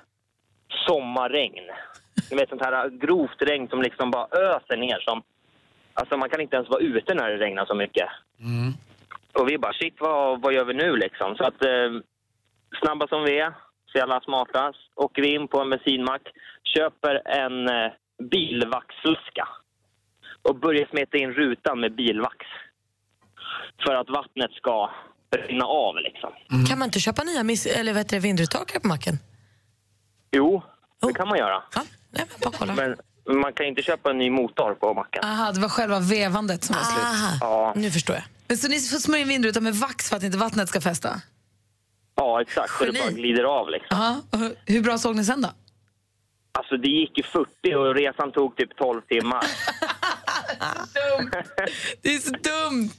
[SPEAKER 12] sommarregn. Ni vet sånt här eh, grovt regn som liksom bara öser ner. Som, alltså man kan inte ens vara ute när det regnar så mycket.
[SPEAKER 3] Mm.
[SPEAKER 12] Och vi bara shit, vad, vad gör vi nu liksom? Så att eh, snabba som vi är, så jävla smarta, åker vi in på en bensinmack, köper en eh, bilvaxflaska och börjar smeta in rutan med bilvax. För att vattnet ska rinna av liksom.
[SPEAKER 4] Kan man inte köpa nya miss- eller vad heter det, vindrutetorkare på macken?
[SPEAKER 12] Jo, det kan man göra. Men man kan inte köpa en ny motor på macken.
[SPEAKER 2] Aha, det var själva vevandet som var slut.
[SPEAKER 12] Ja,
[SPEAKER 4] Nu förstår jag.
[SPEAKER 2] Ah. Men så ni får smörja in vindrutan med vax för att inte vattnet ska fästa?
[SPEAKER 12] ja exakt. Så det bara glider av liksom.
[SPEAKER 2] Aha. och hur- Hur bra såg ni sen då?
[SPEAKER 12] Alltså det gick ju 40 och resan tog typ 12 timmar.
[SPEAKER 2] Det är så dumt!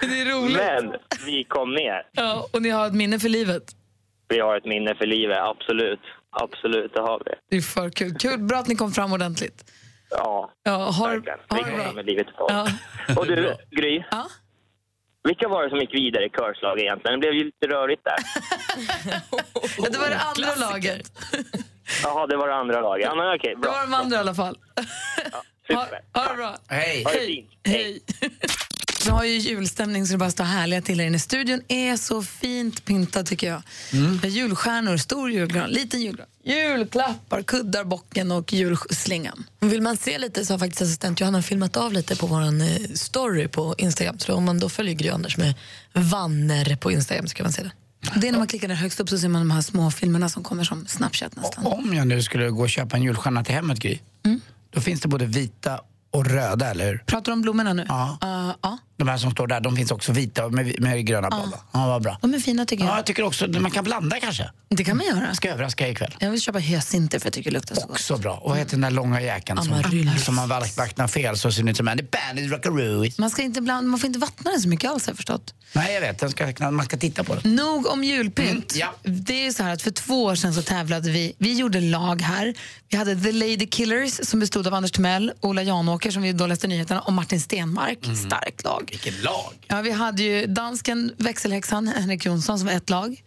[SPEAKER 2] Men det är roligt.
[SPEAKER 12] Men vi kom ner.
[SPEAKER 2] Ja, och ni har ett minne för livet.
[SPEAKER 12] Vi har ett minne för livet, absolut. Absolut, det har vi.
[SPEAKER 2] Det är för kul. kul. Bra att ni kom fram ordentligt.
[SPEAKER 12] Ja,
[SPEAKER 2] Ja, har,
[SPEAKER 12] verkligen. Vi kom ner med livet i
[SPEAKER 2] ja.
[SPEAKER 12] Och du, Gry. Vilka var det som gick vidare i körslag egentligen? Det blev ju lite rörigt där.
[SPEAKER 2] Ja, det var det andra laget.
[SPEAKER 12] Jaha, det var det andra laget. Ja, men okej,
[SPEAKER 2] Det
[SPEAKER 12] bra.
[SPEAKER 2] var de andra i alla fall. Ha, ha det bra.
[SPEAKER 3] Hej.
[SPEAKER 12] Ha det fint.
[SPEAKER 2] Hej. Vi har ju julstämning så det bara står härliga till här inne. Studion är så fint pyntad tycker jag. Med julstjärnor, stor julgran, liten julgran, julklappar, kuddar, bocken och julslingan.
[SPEAKER 4] Vill man se lite så har faktiskt assistent Johanna filmat av lite på vår story på Instagram. Så om man då följer Gry Anders med vanner på Instagram så kan man se det.
[SPEAKER 2] Det är när man klickar där högst upp så ser man de här små filmerna som kommer som Snapchat nästan.
[SPEAKER 3] Om jag nu skulle gå och köpa en julstjärna till hemmet, Gry, då finns det både vita och röda, eller hur?
[SPEAKER 2] Mm. Pratar du om blommorna nu? Ah.
[SPEAKER 3] Ja.
[SPEAKER 2] Ja.
[SPEAKER 3] De här som står där, de finns också vita med, med gröna
[SPEAKER 2] Ja.
[SPEAKER 3] blad. va? Ja, vad bra.
[SPEAKER 2] De är fina tycker
[SPEAKER 3] Ja,
[SPEAKER 2] jag.
[SPEAKER 3] jag tycker också man kan blanda kanske.
[SPEAKER 2] Det kan man göra.
[SPEAKER 3] Ska jag överraska er ikväll.
[SPEAKER 2] Jag vill köpa hyacinter för jag tycker det luktar så gott.
[SPEAKER 3] Också bra. Och vad heter den där långa jäkeln som,
[SPEAKER 2] Amaryllis.
[SPEAKER 3] som man vak- vaknar fel så ser den ut som en Det är bandit rockaroo.
[SPEAKER 2] Man, ska inte bland, man får inte vattna den så mycket alls har jag förstått.
[SPEAKER 3] Nej, jag vet. Den ska, man ska titta på den.
[SPEAKER 2] Nog om
[SPEAKER 4] Mm,
[SPEAKER 2] julpynt.
[SPEAKER 3] ja.
[SPEAKER 2] Det är ju så här att för två år sedan så tävlade vi. Vi gjorde lag här. Vi hade The Lady Killers som bestod av Anders Timell, Ola Janåker som vi då läste nyheterna och Martin Stenmark.
[SPEAKER 4] Mm.
[SPEAKER 2] Starkt lag.
[SPEAKER 3] Vilket lag!
[SPEAKER 2] Ja, vi hade ju dansken, växelhäxan, Henrik Jonsson som var ett lag.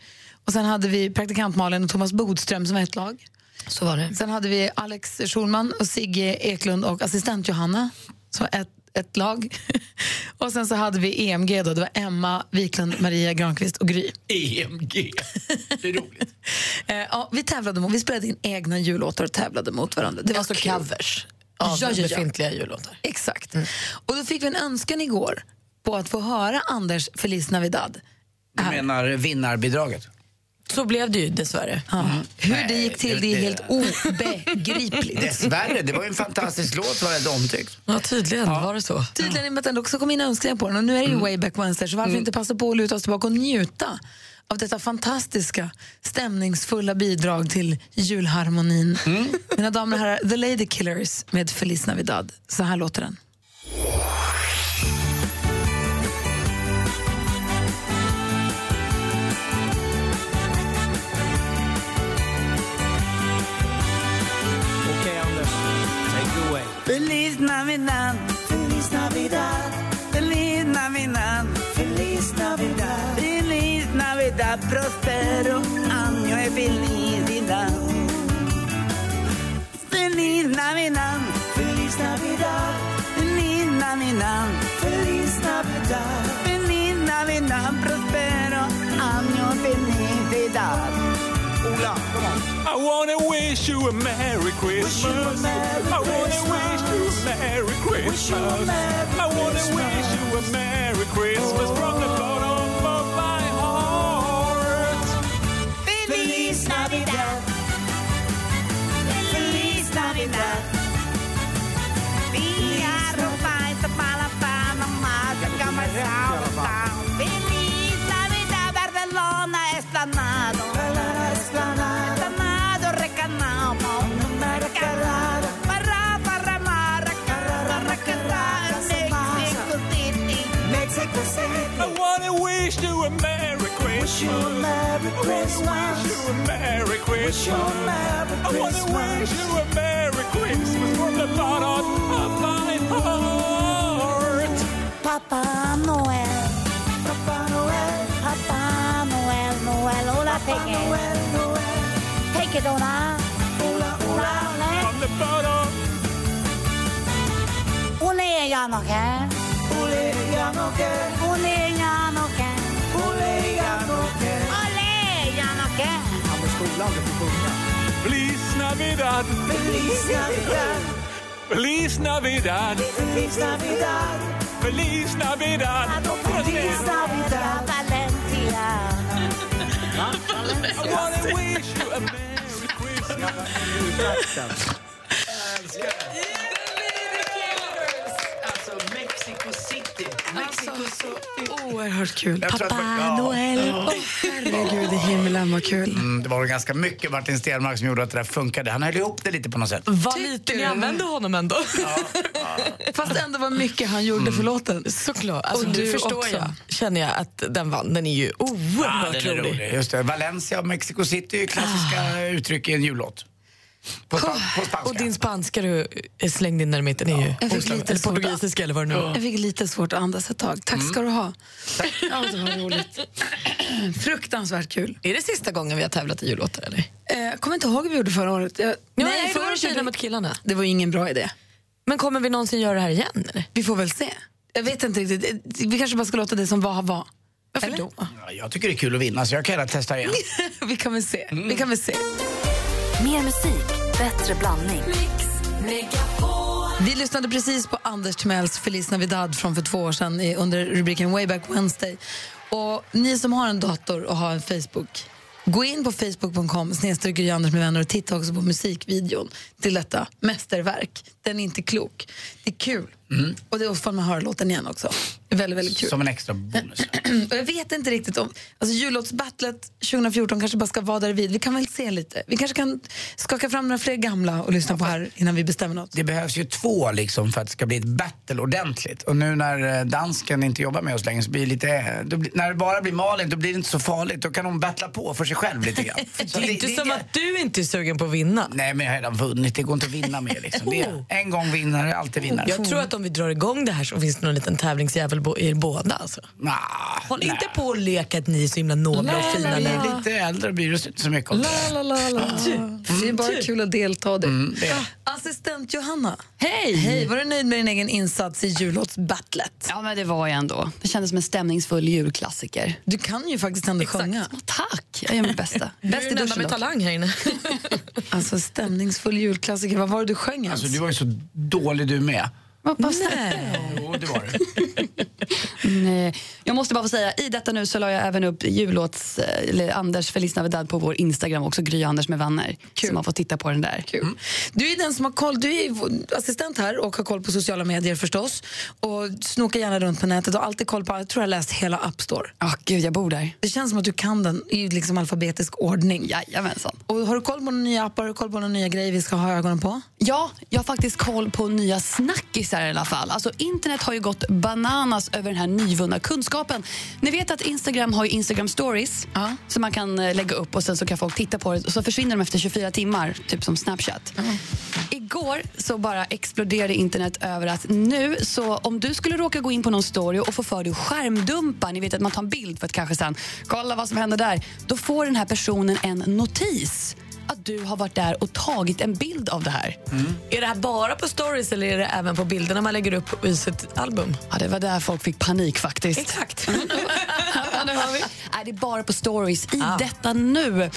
[SPEAKER 2] Och sen hade vi praktikant Malin och Thomas Bodström som var ett lag.
[SPEAKER 4] Så var det.
[SPEAKER 2] Sen hade vi Alex Schulman och Sigge Eklund och assistent Johanna som var ett, ett lag. och sen så hade vi EMG då, det var Emma Wiklund, Maria Granqvist och Gry.
[SPEAKER 3] EMG. E Det är roligt.
[SPEAKER 2] Eh, ja, vi tävlade mot, vi spelade in E egna jullåtar och tävlade mot varandra. Det var
[SPEAKER 4] Alltså
[SPEAKER 2] kul.
[SPEAKER 4] covers av befintliga jullåtar. Mm.
[SPEAKER 2] Exakt. Och då fick vi en önskan igår på att få höra Anders Feliz Navidad.
[SPEAKER 3] Du menar vinnarbidraget?
[SPEAKER 4] Så blev det ju dessvärre. Mm.
[SPEAKER 2] Hur det gick till, det är helt obegripligt.
[SPEAKER 3] Dessvärre, det var ju en fantastisk låt. Var det omtyckt.
[SPEAKER 4] Ja, tydligen var det så.
[SPEAKER 2] Tydligen i och med att den också kom in önskningar på den och nu är
[SPEAKER 4] Mm.
[SPEAKER 2] det ju Wayback Wednesday så varför inte passa på att luta oss tillbaka och njuta av detta fantastiska stämningsfulla bidrag till julharmonin.
[SPEAKER 3] Mm.
[SPEAKER 2] Mina damer och herrar, The Lady Killers med Feliz Navidad. Så här låter den.
[SPEAKER 13] Okej Anders, take it away.
[SPEAKER 14] Feliz Navidad, Feliz Navidad, Feliz Navidad, Feliz Navidad, Feliz Navidad, prospero año y felicidad. Feliz Navidad, Feliz Navidad, Feliz Navidad, Feliz Navidad, Feliz Navidad, prospero año y felicidad. Hola, come on.
[SPEAKER 13] I wanna wish you a Merry Christmas. I wanna wish you a Merry Christmas. I wanna wish you a Merry Christmas from the bottom of my heart.
[SPEAKER 14] Feliz Navidad.
[SPEAKER 13] I wanna wish you a Merry Christmas. Merry Christmas. I wanna wish you a Merry Christmas. I wanna wish you a Merry Christmas from the bottom of my heart.
[SPEAKER 14] Papá Noel. Papá Noel. Papá Noel, Noel. Hola, take it. Take it, hola. Hola, hola.
[SPEAKER 13] From the bottom.
[SPEAKER 14] Ole, ya no can. Ole, ya no can. Ole, ya no can. Ole, ya no can. Ole, ya no can.
[SPEAKER 13] Feliz Navidad.
[SPEAKER 14] Feliz Navidad.
[SPEAKER 13] Feliz Navidad.
[SPEAKER 14] Feliz Navidad.
[SPEAKER 13] Feliz Navidad.
[SPEAKER 14] Feliz Navidad, Valentina.
[SPEAKER 13] I wanna wish you a Merry Christmas.
[SPEAKER 3] Alltså, Mexico City. Mexico City.
[SPEAKER 2] Oerhört kul.
[SPEAKER 3] Jag tror att
[SPEAKER 2] Pappa
[SPEAKER 3] man- ja.
[SPEAKER 2] Noel. Åh, herregud i himlen, vad kul.
[SPEAKER 3] Mm, det var väl ganska mycket Martin Stenmark som gjorde att det där funkade. Han höll ihop det lite på något sätt.
[SPEAKER 4] Vad lite ni använde honom ändå.
[SPEAKER 2] Fast ändå var mycket han
[SPEAKER 3] Mm.
[SPEAKER 2] gjorde för låten. Såklart.
[SPEAKER 4] Alltså,
[SPEAKER 2] och
[SPEAKER 4] nu
[SPEAKER 2] du
[SPEAKER 4] förstår
[SPEAKER 2] också.
[SPEAKER 4] jag, känner jag att den vann. Den är ju
[SPEAKER 3] Ah,
[SPEAKER 4] oerhört
[SPEAKER 3] den är rolig. Just det. Valencia och Mexico City är ju klassiska
[SPEAKER 2] Ah.
[SPEAKER 3] uttryck i en jullåt. På, span- på spanska.
[SPEAKER 4] Och din spanska du eh, slängde in där i mitten är ju
[SPEAKER 2] Jag fick
[SPEAKER 4] oslämd.
[SPEAKER 2] lite
[SPEAKER 4] Eller
[SPEAKER 2] svårt-
[SPEAKER 4] portugisiska eller vad det nu Mm. var.
[SPEAKER 2] Jag fick lite svårt att andas ett tag. Tack ska du ha. Ja, det var roligt. Fruktansvärt kul.
[SPEAKER 4] Är det sista gången vi har tävlat i jullåtar eller?
[SPEAKER 2] Eh, Jag kommer inte ihåg hur vi gjorde förra året. Jag,
[SPEAKER 4] nej, då var det tjejerna mot
[SPEAKER 2] killarna. Det var ju ingen bra idé.
[SPEAKER 4] Men kommer vi någonsin göra det här igen? Eller?
[SPEAKER 2] Vi får väl se. Jag vet inte riktigt. Eh, Vi kanske bara ska låta det som var var. Varför då?
[SPEAKER 3] Ja, jag tycker det är kul att vinna så jag kan gärna testa igen.
[SPEAKER 2] vi kan väl se.
[SPEAKER 4] Mm.
[SPEAKER 2] Vi kan väl se.
[SPEAKER 1] Mer musik, bättre blandning.
[SPEAKER 2] Vi lyssnade precis på Anders Timells Feliz Navidad från för två år sedan i- under rubriken Wayback Wednesday. Och ni som har en dator och har en Facebook, gå in på facebook.com snedstreck Gry Anders med vänner och titta också på musikvideon till detta mästerverk. Den är inte klok. Det är kul. Och det är ofta man hör låten igen också. Det är väldigt, väldigt kul.
[SPEAKER 3] Mm. Som en extra bonus.
[SPEAKER 2] Och jag vet inte riktigt om... Alltså jullåtsbattlet 2014 kanske bara ska vara där vid. Vi kan väl se lite. Vi kanske kan skaka fram några fler gamla och lyssna på här innan vi bestämmer något.
[SPEAKER 3] Det behövs ju två liksom för att det ska bli ett battle ordentligt. Och nu när eh, dansken inte jobbar med oss längre så blir det lite... eh, Då blir, när det bara blir Malin då blir det inte så farligt. Då kan hon battla på för sig själv lite grann.
[SPEAKER 4] Det är inte som att du inte är sugen på att vinna.
[SPEAKER 3] Nej, men jag har redan vunnit. Det går inte att vinna mer. Liksom. Det
[SPEAKER 2] Oh.
[SPEAKER 3] är en gång vinnare, alltid vinnare.
[SPEAKER 4] Jag tror att om vi drar igång det här så finns det någon liten tävlingsjävel bo- i er båda. Alltså. Håll inte på och leka att ni är så himla nobla och fina
[SPEAKER 3] När
[SPEAKER 4] nu.
[SPEAKER 3] vi är lite Mm. äldre blir det inte så mycket om det.
[SPEAKER 2] La, la, la, la. Det är bara kul att delta. Det.
[SPEAKER 3] det är det.
[SPEAKER 2] Assistent Johanna, Hej! Hej, var du nöjd med din egen insats i jullåtsbattlet?
[SPEAKER 15] Ja, men det var jag ändå. Det kändes som en stämningsfull julklassiker.
[SPEAKER 2] Du kan ju faktiskt ändå sjunga.
[SPEAKER 15] Tack, jag gör mitt bästa.
[SPEAKER 2] Du är
[SPEAKER 15] Bäst i
[SPEAKER 2] den enda
[SPEAKER 15] duschen
[SPEAKER 2] med
[SPEAKER 15] dock.
[SPEAKER 4] Talang här inne.
[SPEAKER 2] Alltså stämningsfull julklassiker, vad var det du sjöng ens?
[SPEAKER 3] Alltså, du var ju så dålig du med. Jo, det var det.
[SPEAKER 15] Nej. Jag måste bara få säga, i detta nu så la jag även upp jullåts, eh, eller Anders Feliz Navidad på vår Instagram också, Gry Anders med vänner. Så man får titta på den där. Mm.
[SPEAKER 2] Kul. Du är den som har koll, du är vår assistent här och har koll på sociala medier förstås. Och snokar gärna runt på nätet och har alltid koll på, jag tror jag har läst hela App Store.
[SPEAKER 15] Ja, gud jag bor där.
[SPEAKER 2] Det känns som att du kan den i liksom alfabetisk ordning.
[SPEAKER 15] Jajamensan.
[SPEAKER 2] Och har du koll på några nya appar, har du koll på några nya grejer vi ska ha ögonen på?
[SPEAKER 15] Ja, jag har faktiskt koll på nya snackisar i alla fall. Alltså, internet har ju gått bananas över den här nyvunna kunskapen. Ni vet att Instagram har ju Instagram stories som man kan eh, lägga upp och sen så kan folk titta på det och så försvinner de efter 24 timmar, typ som Snapchat. Igår så bara exploderade internet över att nu så om du skulle råka gå in på någon story och få för dig att skärmdumpa, ni vet att man tar en bild för att kanske sen kolla vad som hände där, då får den här personen en notis att du har varit där och tagit en bild av det här.
[SPEAKER 4] Mm. Är det här bara på stories eller är det även på bilderna man lägger upp i sitt album?
[SPEAKER 15] Ja, det var där folk fick panik faktiskt. Exakt. Nej, det är bara på stories i detta nu.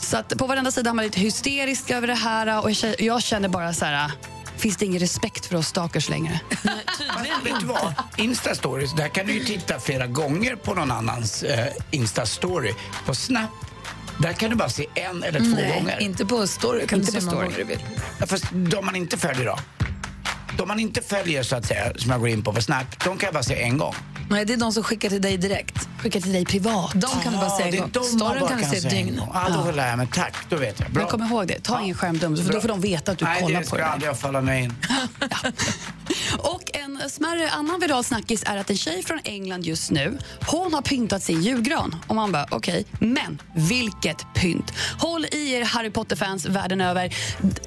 [SPEAKER 15] Så att på varenda sida har man lite hysterisk över det här och jag känner, jag känner bara så här, "Ah, finns det ingen respekt för oss stalkers längre?
[SPEAKER 3] Fast Vet du vad? Insta-stories, där kan du ju titta flera gånger på någon annans eh, Insta-story. På Snap, där kan du bara se en eller två
[SPEAKER 2] Nej,
[SPEAKER 3] gånger.
[SPEAKER 2] inte på story. Kan
[SPEAKER 3] Inte
[SPEAKER 2] du se
[SPEAKER 3] på
[SPEAKER 2] hur många
[SPEAKER 3] story.
[SPEAKER 2] gånger du vill.
[SPEAKER 3] Ja, fast de man inte följer då? De man inte följer så att säga, som jag går in på på Snap, de kan jag bara se en gång.
[SPEAKER 2] Nej, det är de som skickar till dig direkt.
[SPEAKER 15] Skickar till dig privat.
[SPEAKER 2] De kan du bara
[SPEAKER 3] Ah,
[SPEAKER 2] se en
[SPEAKER 3] det är
[SPEAKER 2] gång.
[SPEAKER 3] de man
[SPEAKER 2] Storyn
[SPEAKER 3] bara
[SPEAKER 2] kan du se ett
[SPEAKER 3] en
[SPEAKER 2] dygn.
[SPEAKER 3] gång. Ja, då lär jag mig. Tack, då vet jag. Bra.
[SPEAKER 15] Men kom ihåg det, ta ingen skärmdump för då får de veta att du
[SPEAKER 3] Nej,
[SPEAKER 15] kollar
[SPEAKER 3] det
[SPEAKER 15] på
[SPEAKER 3] ska
[SPEAKER 15] det.
[SPEAKER 3] aldrig jag falla mig in.
[SPEAKER 15] Och En smärre annan viral snackis är att en tjej från England just nu, hon har pyntat sin julgran. Och man bara, okej, men vilket pynt! Håll i er Harry Potter-fans världen över.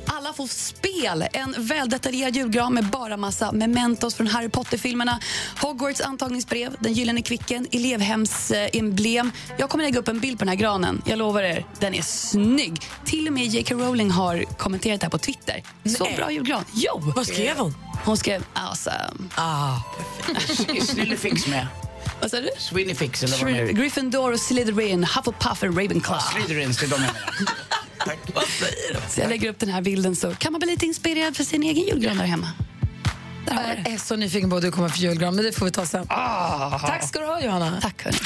[SPEAKER 15] Alla får spel, en väldetaljerad julgran med bara massa mementos från Harry Potter-filmerna, Hogwarts antagningsbrev, den gyllene kvicken, elevhemsemblem. Jag kommer lägga upp en bild på den här granen, jag lovar er. Den är snygg! Till och med J.K. Rowling har kommenterat det här på Twitter. Så
[SPEAKER 4] Nej.
[SPEAKER 15] bra julgran! Jo!
[SPEAKER 4] Vad skrev hon?
[SPEAKER 15] Hon skrev awesome.
[SPEAKER 4] Ah.
[SPEAKER 3] Snille fix med.
[SPEAKER 15] Vad sa du?
[SPEAKER 3] Sweeney fix eller vad
[SPEAKER 15] Shri-
[SPEAKER 3] det nu
[SPEAKER 15] Gryffindor, och Slytherin, Hufflepuff och Ravenclaw.
[SPEAKER 4] Ah,
[SPEAKER 3] Slytherins, det är de jag menar.
[SPEAKER 15] Så jag lägger upp den här bilden så kan man bli lite inspirerad för sin egen julgran där hemma.
[SPEAKER 2] Jag är så nyfiken på vad du kommer för julgran, men det får vi ta sen. Ah.
[SPEAKER 4] Ah.
[SPEAKER 2] Tack ska du ha, Johanna.
[SPEAKER 15] Tack, hörni.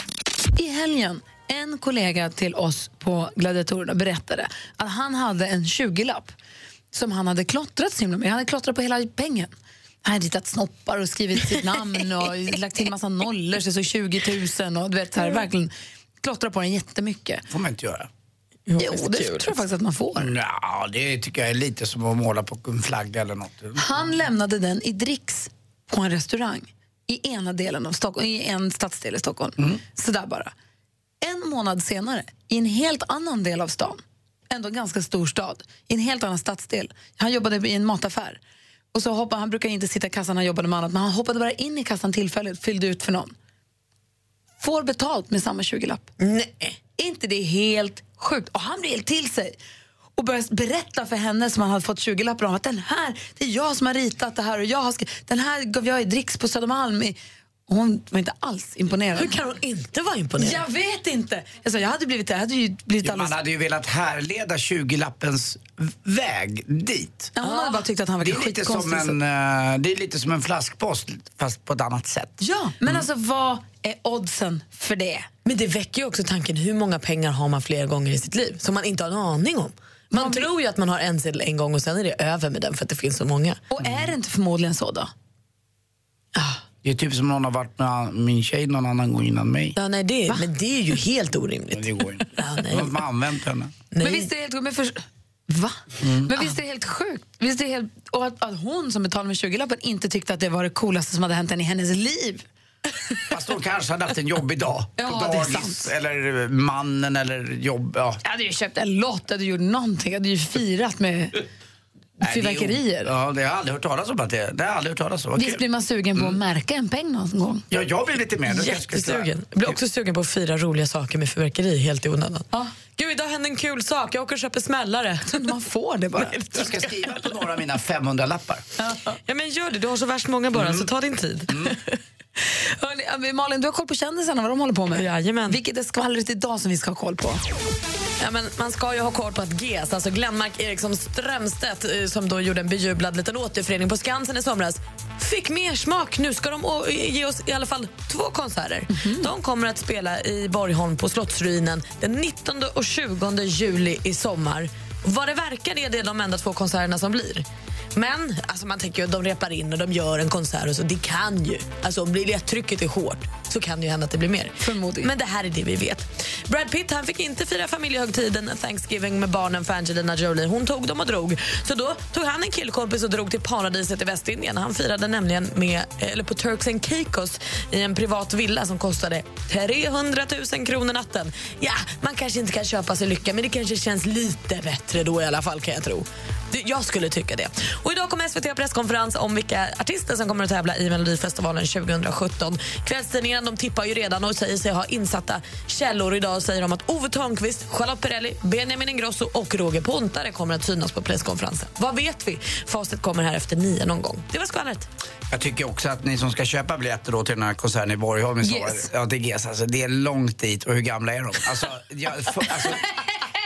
[SPEAKER 2] I helgen, en kollega till oss på Gladiatorerna berättade att han hade en 20-lapp som han hade klottrat så himla mycket. Han hade klottrat på hela pengen. Han hade ritat snoppar och skrivit sitt namn och lagt till massa nollor så det stod 20 000 och du vet, så här, verkligen klottrat på den jättemycket.
[SPEAKER 3] får man inte göra.
[SPEAKER 2] Jo, det tror jag faktiskt att man får.
[SPEAKER 3] Nja, det tycker jag är lite som att måla på en flagga eller något.
[SPEAKER 2] Han lämnade den i dricks på en restaurang i ena delen av Stockholm, i en stadsdel i Stockholm. Sådär bara. En månad senare, i en helt annan del av stan, ändå en ganska stor stad, i en helt annan stadsdel. Han jobbade i en mataffär. Och så hoppade, han brukar inte sitta i kassan, han jobbade med annat, men han hoppade bara in i kassan tillfälligt, fyllde ut för någon. Får betalt med samma 20-lapp. Nej. inte det helt sjukt? Och han blir helt till sig och börjar berätta för henne som han hade fått 20-lappar om att den här, det är jag som har ritat det här och jag har skri- den här gav jag i dricks på Södermalm. i- Och Hon var inte alls imponerad.
[SPEAKER 4] Hur kan hon inte vara imponerad?
[SPEAKER 2] Jag vet inte. Jag, sa, jag hade blivit, jag hade ju blivit
[SPEAKER 3] Jo, man
[SPEAKER 2] alldeles...
[SPEAKER 3] hade ju velat härleda 20-lappens väg dit.
[SPEAKER 2] Ja, hon hade bara tyckt att han
[SPEAKER 3] Ah, Det
[SPEAKER 2] verkade
[SPEAKER 3] är, lite som
[SPEAKER 2] skitkonstig. så-
[SPEAKER 3] en, eh, det är lite som en flaskpost, fast på ett annat sätt.
[SPEAKER 2] Ja, men alltså vad är oddsen för det?
[SPEAKER 4] Men det väcker ju också tanken, hur många pengar har man flera gånger i sitt liv som man inte har en aning om? Man tror ju att man har en sedel en gång och sen är det över med den för att det finns så många.
[SPEAKER 2] Och är det inte förmodligen så då?
[SPEAKER 3] Det är typ som någon har varit med min tjej någon annan gång innan mig.
[SPEAKER 4] Ja, nej, det, men det är ju helt orimligt.
[SPEAKER 3] Men det går inte. Man har använt henne.
[SPEAKER 2] Men visst är det helt sjukt? Men för... Va?
[SPEAKER 3] Mm.
[SPEAKER 2] Men visst är det helt sjukt? Visst är det helt... Och att, att hon som betalade med 20-lappen inte tyckte att det var det coolaste som hade hänt henne i hennes liv.
[SPEAKER 3] Fast hon kanske hade haft en jobbig dag.
[SPEAKER 2] Ja,
[SPEAKER 3] på
[SPEAKER 2] det är
[SPEAKER 3] dagis eller eh, mannen eller jobb. Ja.
[SPEAKER 2] Jag hade ju köpt en lott, jag hade gjort någonting, jag hade ju firat med
[SPEAKER 3] Nej, det är-
[SPEAKER 2] fyrverkerier.
[SPEAKER 3] Ja, det har jag aldrig hört talas om. Att det, det har jag aldrig hört talas om. Vad
[SPEAKER 2] Visst
[SPEAKER 3] kul.
[SPEAKER 2] blir man sugen
[SPEAKER 4] Mm.
[SPEAKER 2] på att märka en peng någon gång?
[SPEAKER 3] Ja, jag blir lite mer. nu kanske jag ska säga.
[SPEAKER 4] Jättesugen. Jag blir också sugen på att fira roliga saker med fyrverkeri helt i onödan. Gud, idag hände en kul sak. Jag åker och köper smällare.
[SPEAKER 2] Man får det bara.
[SPEAKER 3] Jag ska skriva på några av mina 500-lappar.
[SPEAKER 4] Ja, men gör det. Du har så värst många
[SPEAKER 3] Mm.
[SPEAKER 4] bara, så ta din tid.
[SPEAKER 2] Hörrni, Malin, du har koll på kändisarna, vad de håller på med? Jajamän. Vilket är skvallret idag som vi ska ha koll på?
[SPEAKER 4] Ja, men man ska ju ha koll på att GES, alltså Glenmark Eriksson Strömstedt eh, som då gjorde en bejublad liten återförening på Skansen i somras, fick mer smak. Nu ska de å- ge oss i alla fall två konserter. Mm-hmm. De kommer att spela i Borgholm på Slottsruinen den 19 och 20 juli i sommar. Vad det verkar är det de enda två konserterna som blir. Men alltså man tänker ju att de repar in och de gör en konsert. Och så. Det kan ju. Alltså om biljettrycket är hårt så kan det ju hända att det blir mer. Förmodligen. Men det här är det vi vet. Brad Pitt han fick inte fira familjehögtiden Thanksgiving med barnen för Angelina Jolie. Hon tog dem och drog. Så då tog han en killkompis och drog till paradiset i Västindien. Han firade nämligen med, eller på Turks and Caicos i en privat villa som kostade 300 000 kronor natten. Ja, man kanske inte kan köpa sig lycka men det kanske känns lite bättre då i alla fall kan jag tro. Det- Jag skulle tycka det. Och idag kommer SVT ha presskonferens om vilka artister som kommer att tävla i Melodifestivalen 2017. Kvällstidningarna de tippar ju redan och säger sig ha insatta källor. Idag säger de att Ove Thörnqvist, Charlotte Perrelli, Benjamin Ingrosso och Roger Pontare kommer att synas på presskonferensen. Vad vet vi? Facit kommer här efter nio någon gång. Det var skvallret.
[SPEAKER 3] Jag tycker också att ni som ska köpa biljetter då till den här konserten i Borgholm i sommar,
[SPEAKER 4] Yes.
[SPEAKER 3] ja, till GES, alltså, det är långt dit och hur gamla är de? Alltså, jag, för, alltså,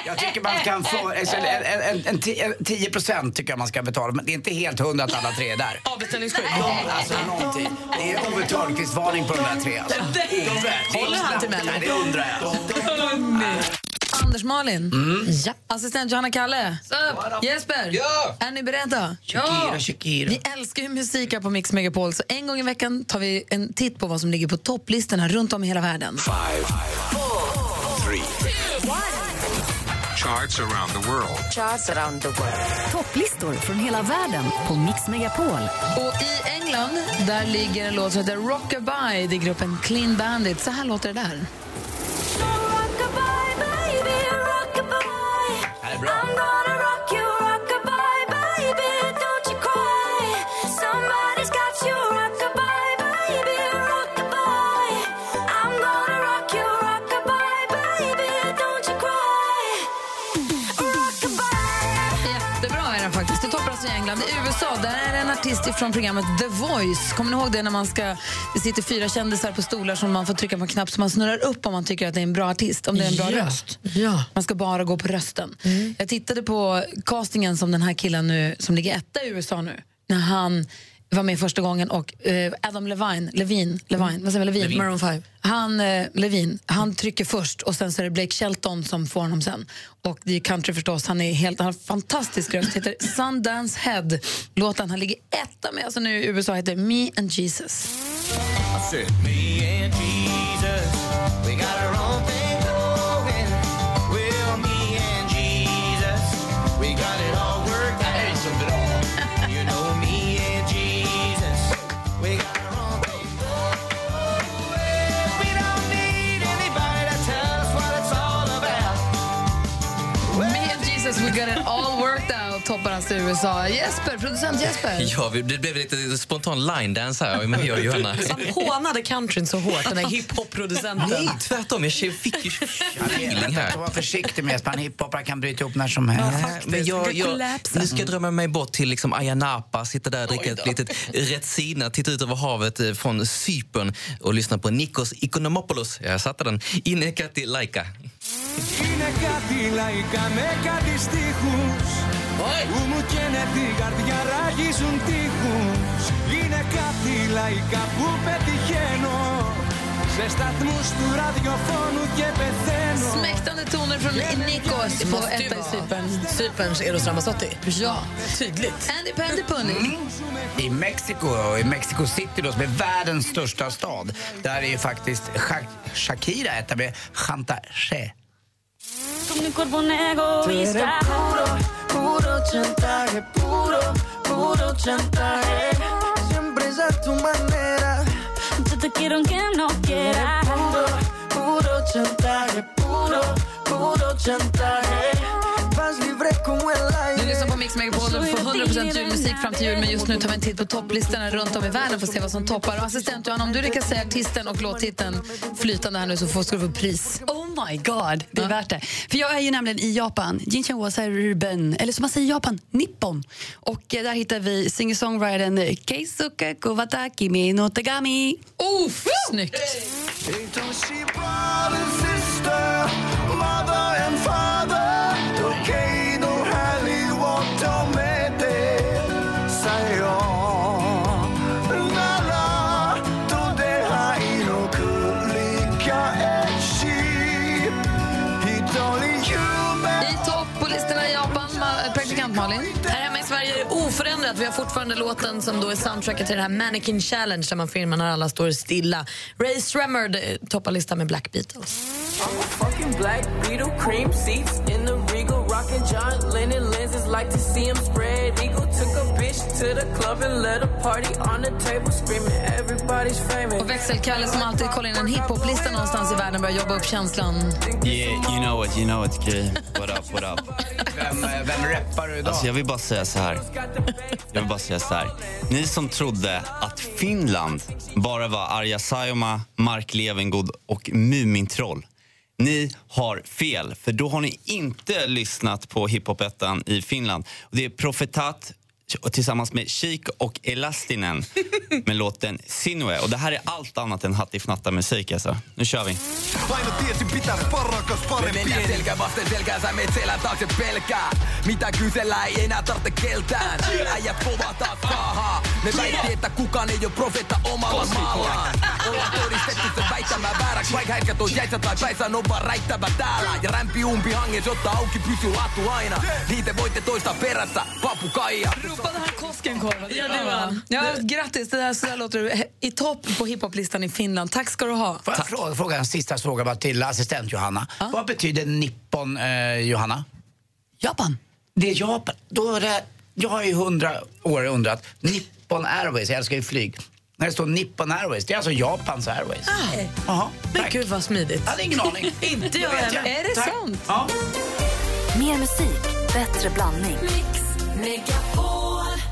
[SPEAKER 3] jag tycker man kan få, alltså, en, en, en, en, ti- en 10 procent tycker jag man ska betala, men det är inte helt hundra att alla tre är där.
[SPEAKER 4] Avbeställningsskydd.
[SPEAKER 3] De, alltså, någonting. Det är Ove Thörnqvist-varning på de där tre. Alltså. De-
[SPEAKER 2] Håller han till Mello?
[SPEAKER 3] Nej, Det undrar jag.
[SPEAKER 2] Anders Malin,
[SPEAKER 3] Mm.
[SPEAKER 2] assistent Johanna Kalle, Jesper, är ni beredda?
[SPEAKER 3] Shakira, Shakira.
[SPEAKER 2] Vi älskar ju musik här på Mix Megapol så en gång i veckan tar vi en titt på vad som ligger på topplistorna runt om i hela världen.
[SPEAKER 13] Five, four, three,
[SPEAKER 16] Charts around the world.
[SPEAKER 1] Charts around the world. Topplistor från hela världen på Mix Megapol.
[SPEAKER 2] Och i England, där ligger en låt som heter Rockabye. Det är gruppen Clean Bandit. Så här låter det där. Jättebra är den faktiskt. Det toppar alltså i England. I USA, där är det en artist från programmet The Voice. Kommer ni ihåg det när man ska... Det sitter fyra kändisar på stolar som man får trycka på en knapp så man snurrar upp om man tycker att det är en bra artist, om det är en bra
[SPEAKER 4] Ja.
[SPEAKER 2] röst. Man ska bara gå på rösten.
[SPEAKER 4] Mm.
[SPEAKER 2] Jag tittade på castingen som den här killen nu, som ligger etta i USA nu, när han var med första gången och eh, Adam Levine, Levine, Levine, vad säger man, Levine?
[SPEAKER 4] Levine. Maroon five.
[SPEAKER 2] Han, eh, Levine, han trycker först och sen så är det Blake Shelton som får honom sen. Och det är country förstås, han är helt, han har en fantastisk röst, heter Sundance Head. Låten han ligger etta med alltså nu i USA heter Me and Jesus.
[SPEAKER 13] I said, Me and Jesus, we got our own thing going. Well, me and Jesus, we got it all worked out. So it all, you know, me and Jesus, we got our own thing going. We don't need anybody to tell us what it's all about.
[SPEAKER 2] Me and Jesus, we got it all worked out, toppar alltså i USA. Jesper, producent Jesper.
[SPEAKER 9] Ja, vi- det blev lite spontan line dance här med mig och Johanna.
[SPEAKER 4] Han hånade countryn så hårt, den där hiphop-producenten.
[SPEAKER 9] Nej, tvärtom. Jag fick ju feeling här.
[SPEAKER 3] Var försiktig med att man hiphoppare kan bryta ihop när som helst.
[SPEAKER 9] Men jag,
[SPEAKER 3] Vilka
[SPEAKER 9] jag,
[SPEAKER 3] kollapsen.
[SPEAKER 9] nu ska jag drömma mig bort till liksom Ayia Napa, sitta där och dricka ett litet Retsina, titta ut över havet eh, från Cypern och lyssna på Nikos Ikonomopoulos. Jag satte den. Inekati Laika.
[SPEAKER 13] Είναι κάτι λαϊκά με κάτι στίχους Που μου καίνε την καρδιά ράγιζουν τείχους Είναι κάτι λαϊκά που πετυχαίνω Σε σταθμούς του ραδιοφώνου και πεθαίνω
[SPEAKER 2] Smäktande toner från Nikos på etta i Cypern.
[SPEAKER 4] Cyperns Eros Ramazzotti.
[SPEAKER 2] Ja, tydligt. Andy Pandy Punning.
[SPEAKER 3] I Mexiko, och i Mexico City då, som är världens största stad, där är ju faktiskt Sha- Shakira etta med Chanta Che.
[SPEAKER 13] Con mi cuerpo un egoísta puro, puro chantaje Puro, puro chantaje Siempre es a tu manera Yo te quiero aunque no quiera Puro, puro chantaje Puro, puro chantaje Vas libre como el aire
[SPEAKER 2] Du lyssnar på Mix Megapol och får 100% julmusik fram till jul men just nu tar vi en titt på topplistorna runt om i världen för att se vad som toppar. Och assistent Johanna, om du lyckas säga artisten och låttiteln flytande här nu så får ska du få pris.
[SPEAKER 15] Oh my god, det är värt det. För jag är ju nämligen i Japan, Jinshanwasa Ruben, eller som man säger i Japan, Nippon. Och eh, där hittar vi singer-songwritern Keisuke Kuwata, Kimi no Tegami.
[SPEAKER 2] Oh, snyggt!
[SPEAKER 13] Don't she brother and sister, mother and father? Okay, no highly walked on Say on. Nala, don't they hide no kulika and she. It's only human.
[SPEAKER 2] I topp på listorna i Japan, Ma- eh, praktikant Malin.
[SPEAKER 4] Här hemma i Sverige är det oförändrat. Vi har fortfarande låten som då är soundtracket till den här Mannequin Challenge där man filmar när alla står stilla. Ray Sremmerd eh, toppar listan med Black Beatles.
[SPEAKER 17] I'm a fucking black beetle, cream seats in the regal, rocking John Lennon lenses, like to see him spread eagle. Took a bitch to the club and let a party on the table, screaming everybody's famous.
[SPEAKER 2] Och växelkalle som alltid kollar in en hiphoplista någonstans i världen börjar jobba upp känslan.
[SPEAKER 18] Yeah, you know what, you know what, Gry. What up, what up?
[SPEAKER 3] Vem, eh, vem rappar du idag?
[SPEAKER 18] Alltså jag vill bara säga så här. Jag vill bara säga så här. Ni som trodde att Finland bara var Arja Saijonmaa, Mark Levengood och Mumintroll. Ni har fel, för då har ni inte lyssnat på hiphopettan i Finland. Och det är Profetat tillsammans med Chic och Elastinen med låten Sinue. Och det här är allt annat än hattifnatta-musik alltså. Nu kör vi.
[SPEAKER 19] Aina tiesin pitää porrakas parempi. Me mennään selkä vasten selkää, sä meet selän taakse pelkää. Mitä kysellä ei enää tarvitse keltään. Äijät kovaa taas kaahaa. Ne väitti, että kukaan ei oo profeetta omalla maallaan. Ollaan todistettu se väittämä vääräksi, vai Kaikki härkät on jäissä tai päissä, ne on vaan räittävä täällä Ja rämpi umpi hanges, jotta auki pysyy latu aina Niitä voitte toista perässä, papukaija
[SPEAKER 4] Ropade han Koskenkorva?
[SPEAKER 2] Ja, det var han. ja, grattis, det där, så där låter du he- i topp på hiphoplistan i Finland. Tack ska du ha.
[SPEAKER 3] Får jag fråga, fråga en sista fråga bara till assistent Johanna. Vad betyder nippon, eh, Johanna?
[SPEAKER 15] Japan.
[SPEAKER 3] Det är Japan. Då är det, jag har ju hundra år undrat. Nippon Airways, jag älskar ju flyg. När det står Nippon Airways, det är alltså Japans Airways. Jaha,
[SPEAKER 4] men gud vad smidigt.
[SPEAKER 3] Jag hade ingen aning.
[SPEAKER 4] Inte jag
[SPEAKER 3] Då vet
[SPEAKER 4] heller. Är det sant?
[SPEAKER 3] Ja.
[SPEAKER 1] Mer musik, bättre blandning.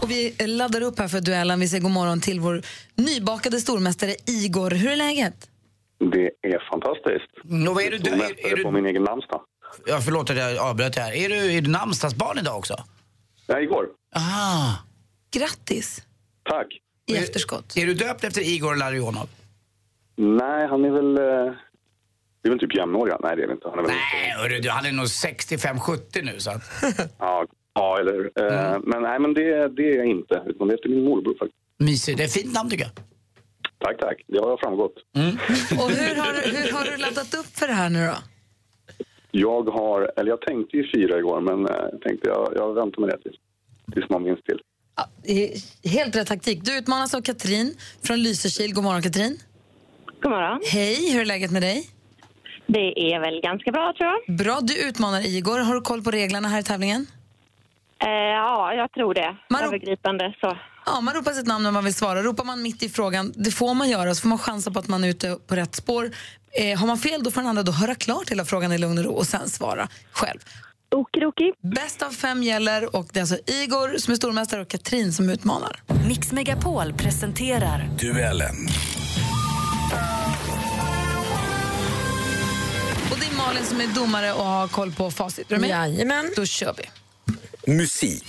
[SPEAKER 2] Och vi laddar upp här för duellen. Vi säger god morgon till vår nybakade stormästare Igor. Hur är läget?
[SPEAKER 16] Det är fantastiskt.
[SPEAKER 2] Mm.
[SPEAKER 3] Nå, vad är du-
[SPEAKER 16] Jag
[SPEAKER 3] är-
[SPEAKER 16] mästare
[SPEAKER 3] är du-
[SPEAKER 16] på min egen namnsdag.
[SPEAKER 3] Ja, förlåt att jag avbröt det här. Är du, är du namnsdagsbarn idag också?
[SPEAKER 16] Ja, igår.
[SPEAKER 3] Ah.
[SPEAKER 2] Grattis.
[SPEAKER 16] Tack.
[SPEAKER 2] I efterskott.
[SPEAKER 3] Är, du döpt efter Igor Larionov?
[SPEAKER 16] Nej, han är väl... eh, Vi är väl typ jämnåriga? Nej, det är vi inte. Han är väl
[SPEAKER 3] Nej, hörru, du, han är nog 65-70 nu. Så att...
[SPEAKER 16] Ja, ja eller hur? Eh,
[SPEAKER 3] Mm.
[SPEAKER 16] Men, nej, men det, det är jag inte. Utan det är efter min morbror faktiskt.
[SPEAKER 3] Mysigt. Det är ett fint namn tycker jag. Mm.
[SPEAKER 16] Tack, tack. Det har framgått.
[SPEAKER 2] Och hur har, du- hur har du laddat upp för det här nu då?
[SPEAKER 16] Jag har... Eller jag tänkte ju fira igår, men eh, jag tänkte jag, jag väntar med det tills, tills man minns till.
[SPEAKER 2] Eh, Helt rätt taktik. Du utmanas av Katrin från Lysekil. God morgon Katrin.
[SPEAKER 6] God morgon.
[SPEAKER 2] Hej, hur är läget med dig?
[SPEAKER 6] Det är väl ganska bra tror jag.
[SPEAKER 2] Bra, du utmanar Igor. Har du koll på reglerna här i tävlingen?
[SPEAKER 6] Eh, ja, jag tror det. Övergripande så.
[SPEAKER 2] Ja, man ropar sitt namn när man vill svara. Ropar man mitt i frågan, det får man göra, så får man chansa på att man är ute på rätt spår. Eh, har man fel, då får den andra då höra klart hela frågan i lugn och ro och sen svara själv.
[SPEAKER 6] Okidoki.
[SPEAKER 2] Bäst av fem gäller och det är alltså Igor som är stormästare och Katrin som utmanar.
[SPEAKER 1] Mix Megapol presenterar
[SPEAKER 20] Duellen.
[SPEAKER 2] Och det är Malin som är domare och har koll på facit. Är du med?
[SPEAKER 4] Jajamän.
[SPEAKER 2] Då kör vi.
[SPEAKER 20] Musik.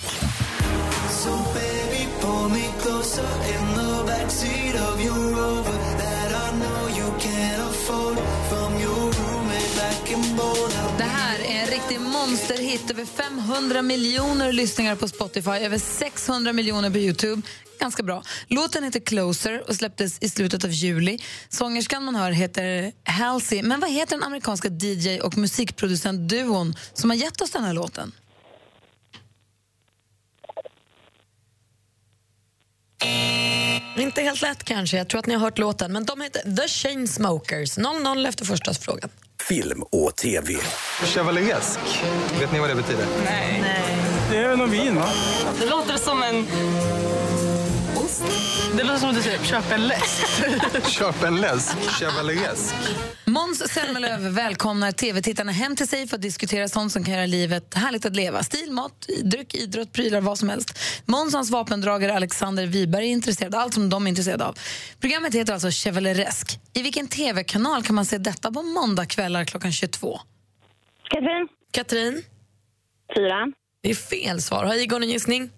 [SPEAKER 13] So baby, pull me closer in the backseat of your Rover that I know you can't afford. From your roommate back in Boulder.
[SPEAKER 2] Det här är en riktig monsterhit. Över 500 miljoner lyssningar på Spotify, över 600 miljoner på Youtube. Ganska bra. Låten heter Closer och släpptes i slutet av juli. Sångerskan man hör heter Halsey. Men vad heter den amerikanska DJ och musikproducentduon som har gett oss den här låten?
[SPEAKER 4] Inte helt lätt kanske, jag tror att ni har hört låten. Men de heter The Chainsmokers. 0-0 efter första frågan.
[SPEAKER 20] Film och tv.
[SPEAKER 21] Chevaliesk. Vet ni vad det betyder?
[SPEAKER 13] Nej. Det är väl någon vin, va?
[SPEAKER 22] Det låter som en... Ost? Det låter som att du säger köp en läsk.
[SPEAKER 21] Köp en läsk. Chevaliesk.
[SPEAKER 2] Måns Zelmerlöw välkomnar tv-tittarna hem till sig för att diskutera sånt som kan göra livet härligt att leva. Stil, mat, dryck, idrott, prylar, vad som helst. Måns och hans vapendragare Alexander Wiberg är intresserad av allt som de är intresserade av. Programmet heter alltså Chevaleresk. I vilken tv-kanal kan man se detta på måndagkvällar klockan 22?
[SPEAKER 6] Katrin.
[SPEAKER 4] Katrin.
[SPEAKER 6] Fyran.
[SPEAKER 4] Det är fel svar. Har Igor en gissning?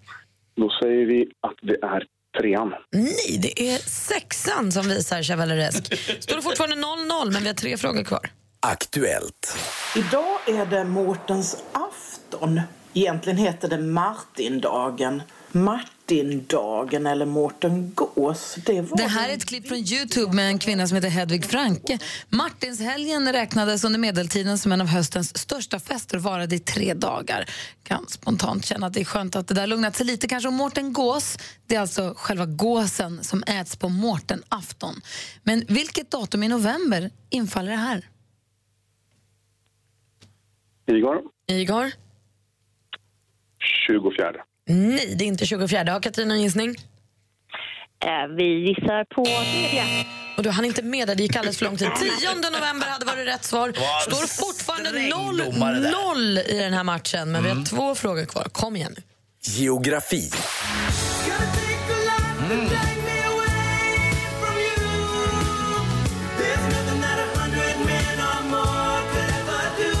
[SPEAKER 16] Då säger vi att det är trean.
[SPEAKER 4] Nej, det är sexan som visar Chevaleresk. Står det fortfarande 0-0, men vi har tre frågor kvar.
[SPEAKER 20] Aktuellt.
[SPEAKER 22] Idag är det Mårtens afton. Egentligen heter det Martindagen. Martindagen eller Mårten Gås. Det var
[SPEAKER 2] Det här är ett klipp från Youtube med en kvinna som heter Hedvig Franke. Martinshelgen räknades under medeltiden som en av höstens största fester och varade i tre dagar. Kan spontant känna att det är skönt att det där lugnat sig lite. Kanske om Mårten Gås, det är alltså själva gåsen som äts på Mårtenafton. Men vilket datum i november infaller det här?
[SPEAKER 16] Igor,
[SPEAKER 4] Igor?
[SPEAKER 16] 24.
[SPEAKER 4] Nej, det är inte 24. Har Katrin en gissning?
[SPEAKER 6] Eh, vi gissar på tredje. Mm.
[SPEAKER 4] Och du hann inte med där, det gick alldeles för lång tid. 10 november hade varit rätt svar. Står fortfarande
[SPEAKER 20] domare där.
[SPEAKER 4] 0-0 i den här matchen, men vi har två frågor kvar. Kom igen nu.
[SPEAKER 20] Geografi.
[SPEAKER 13] There's nothing that a hundred men or more could ever do.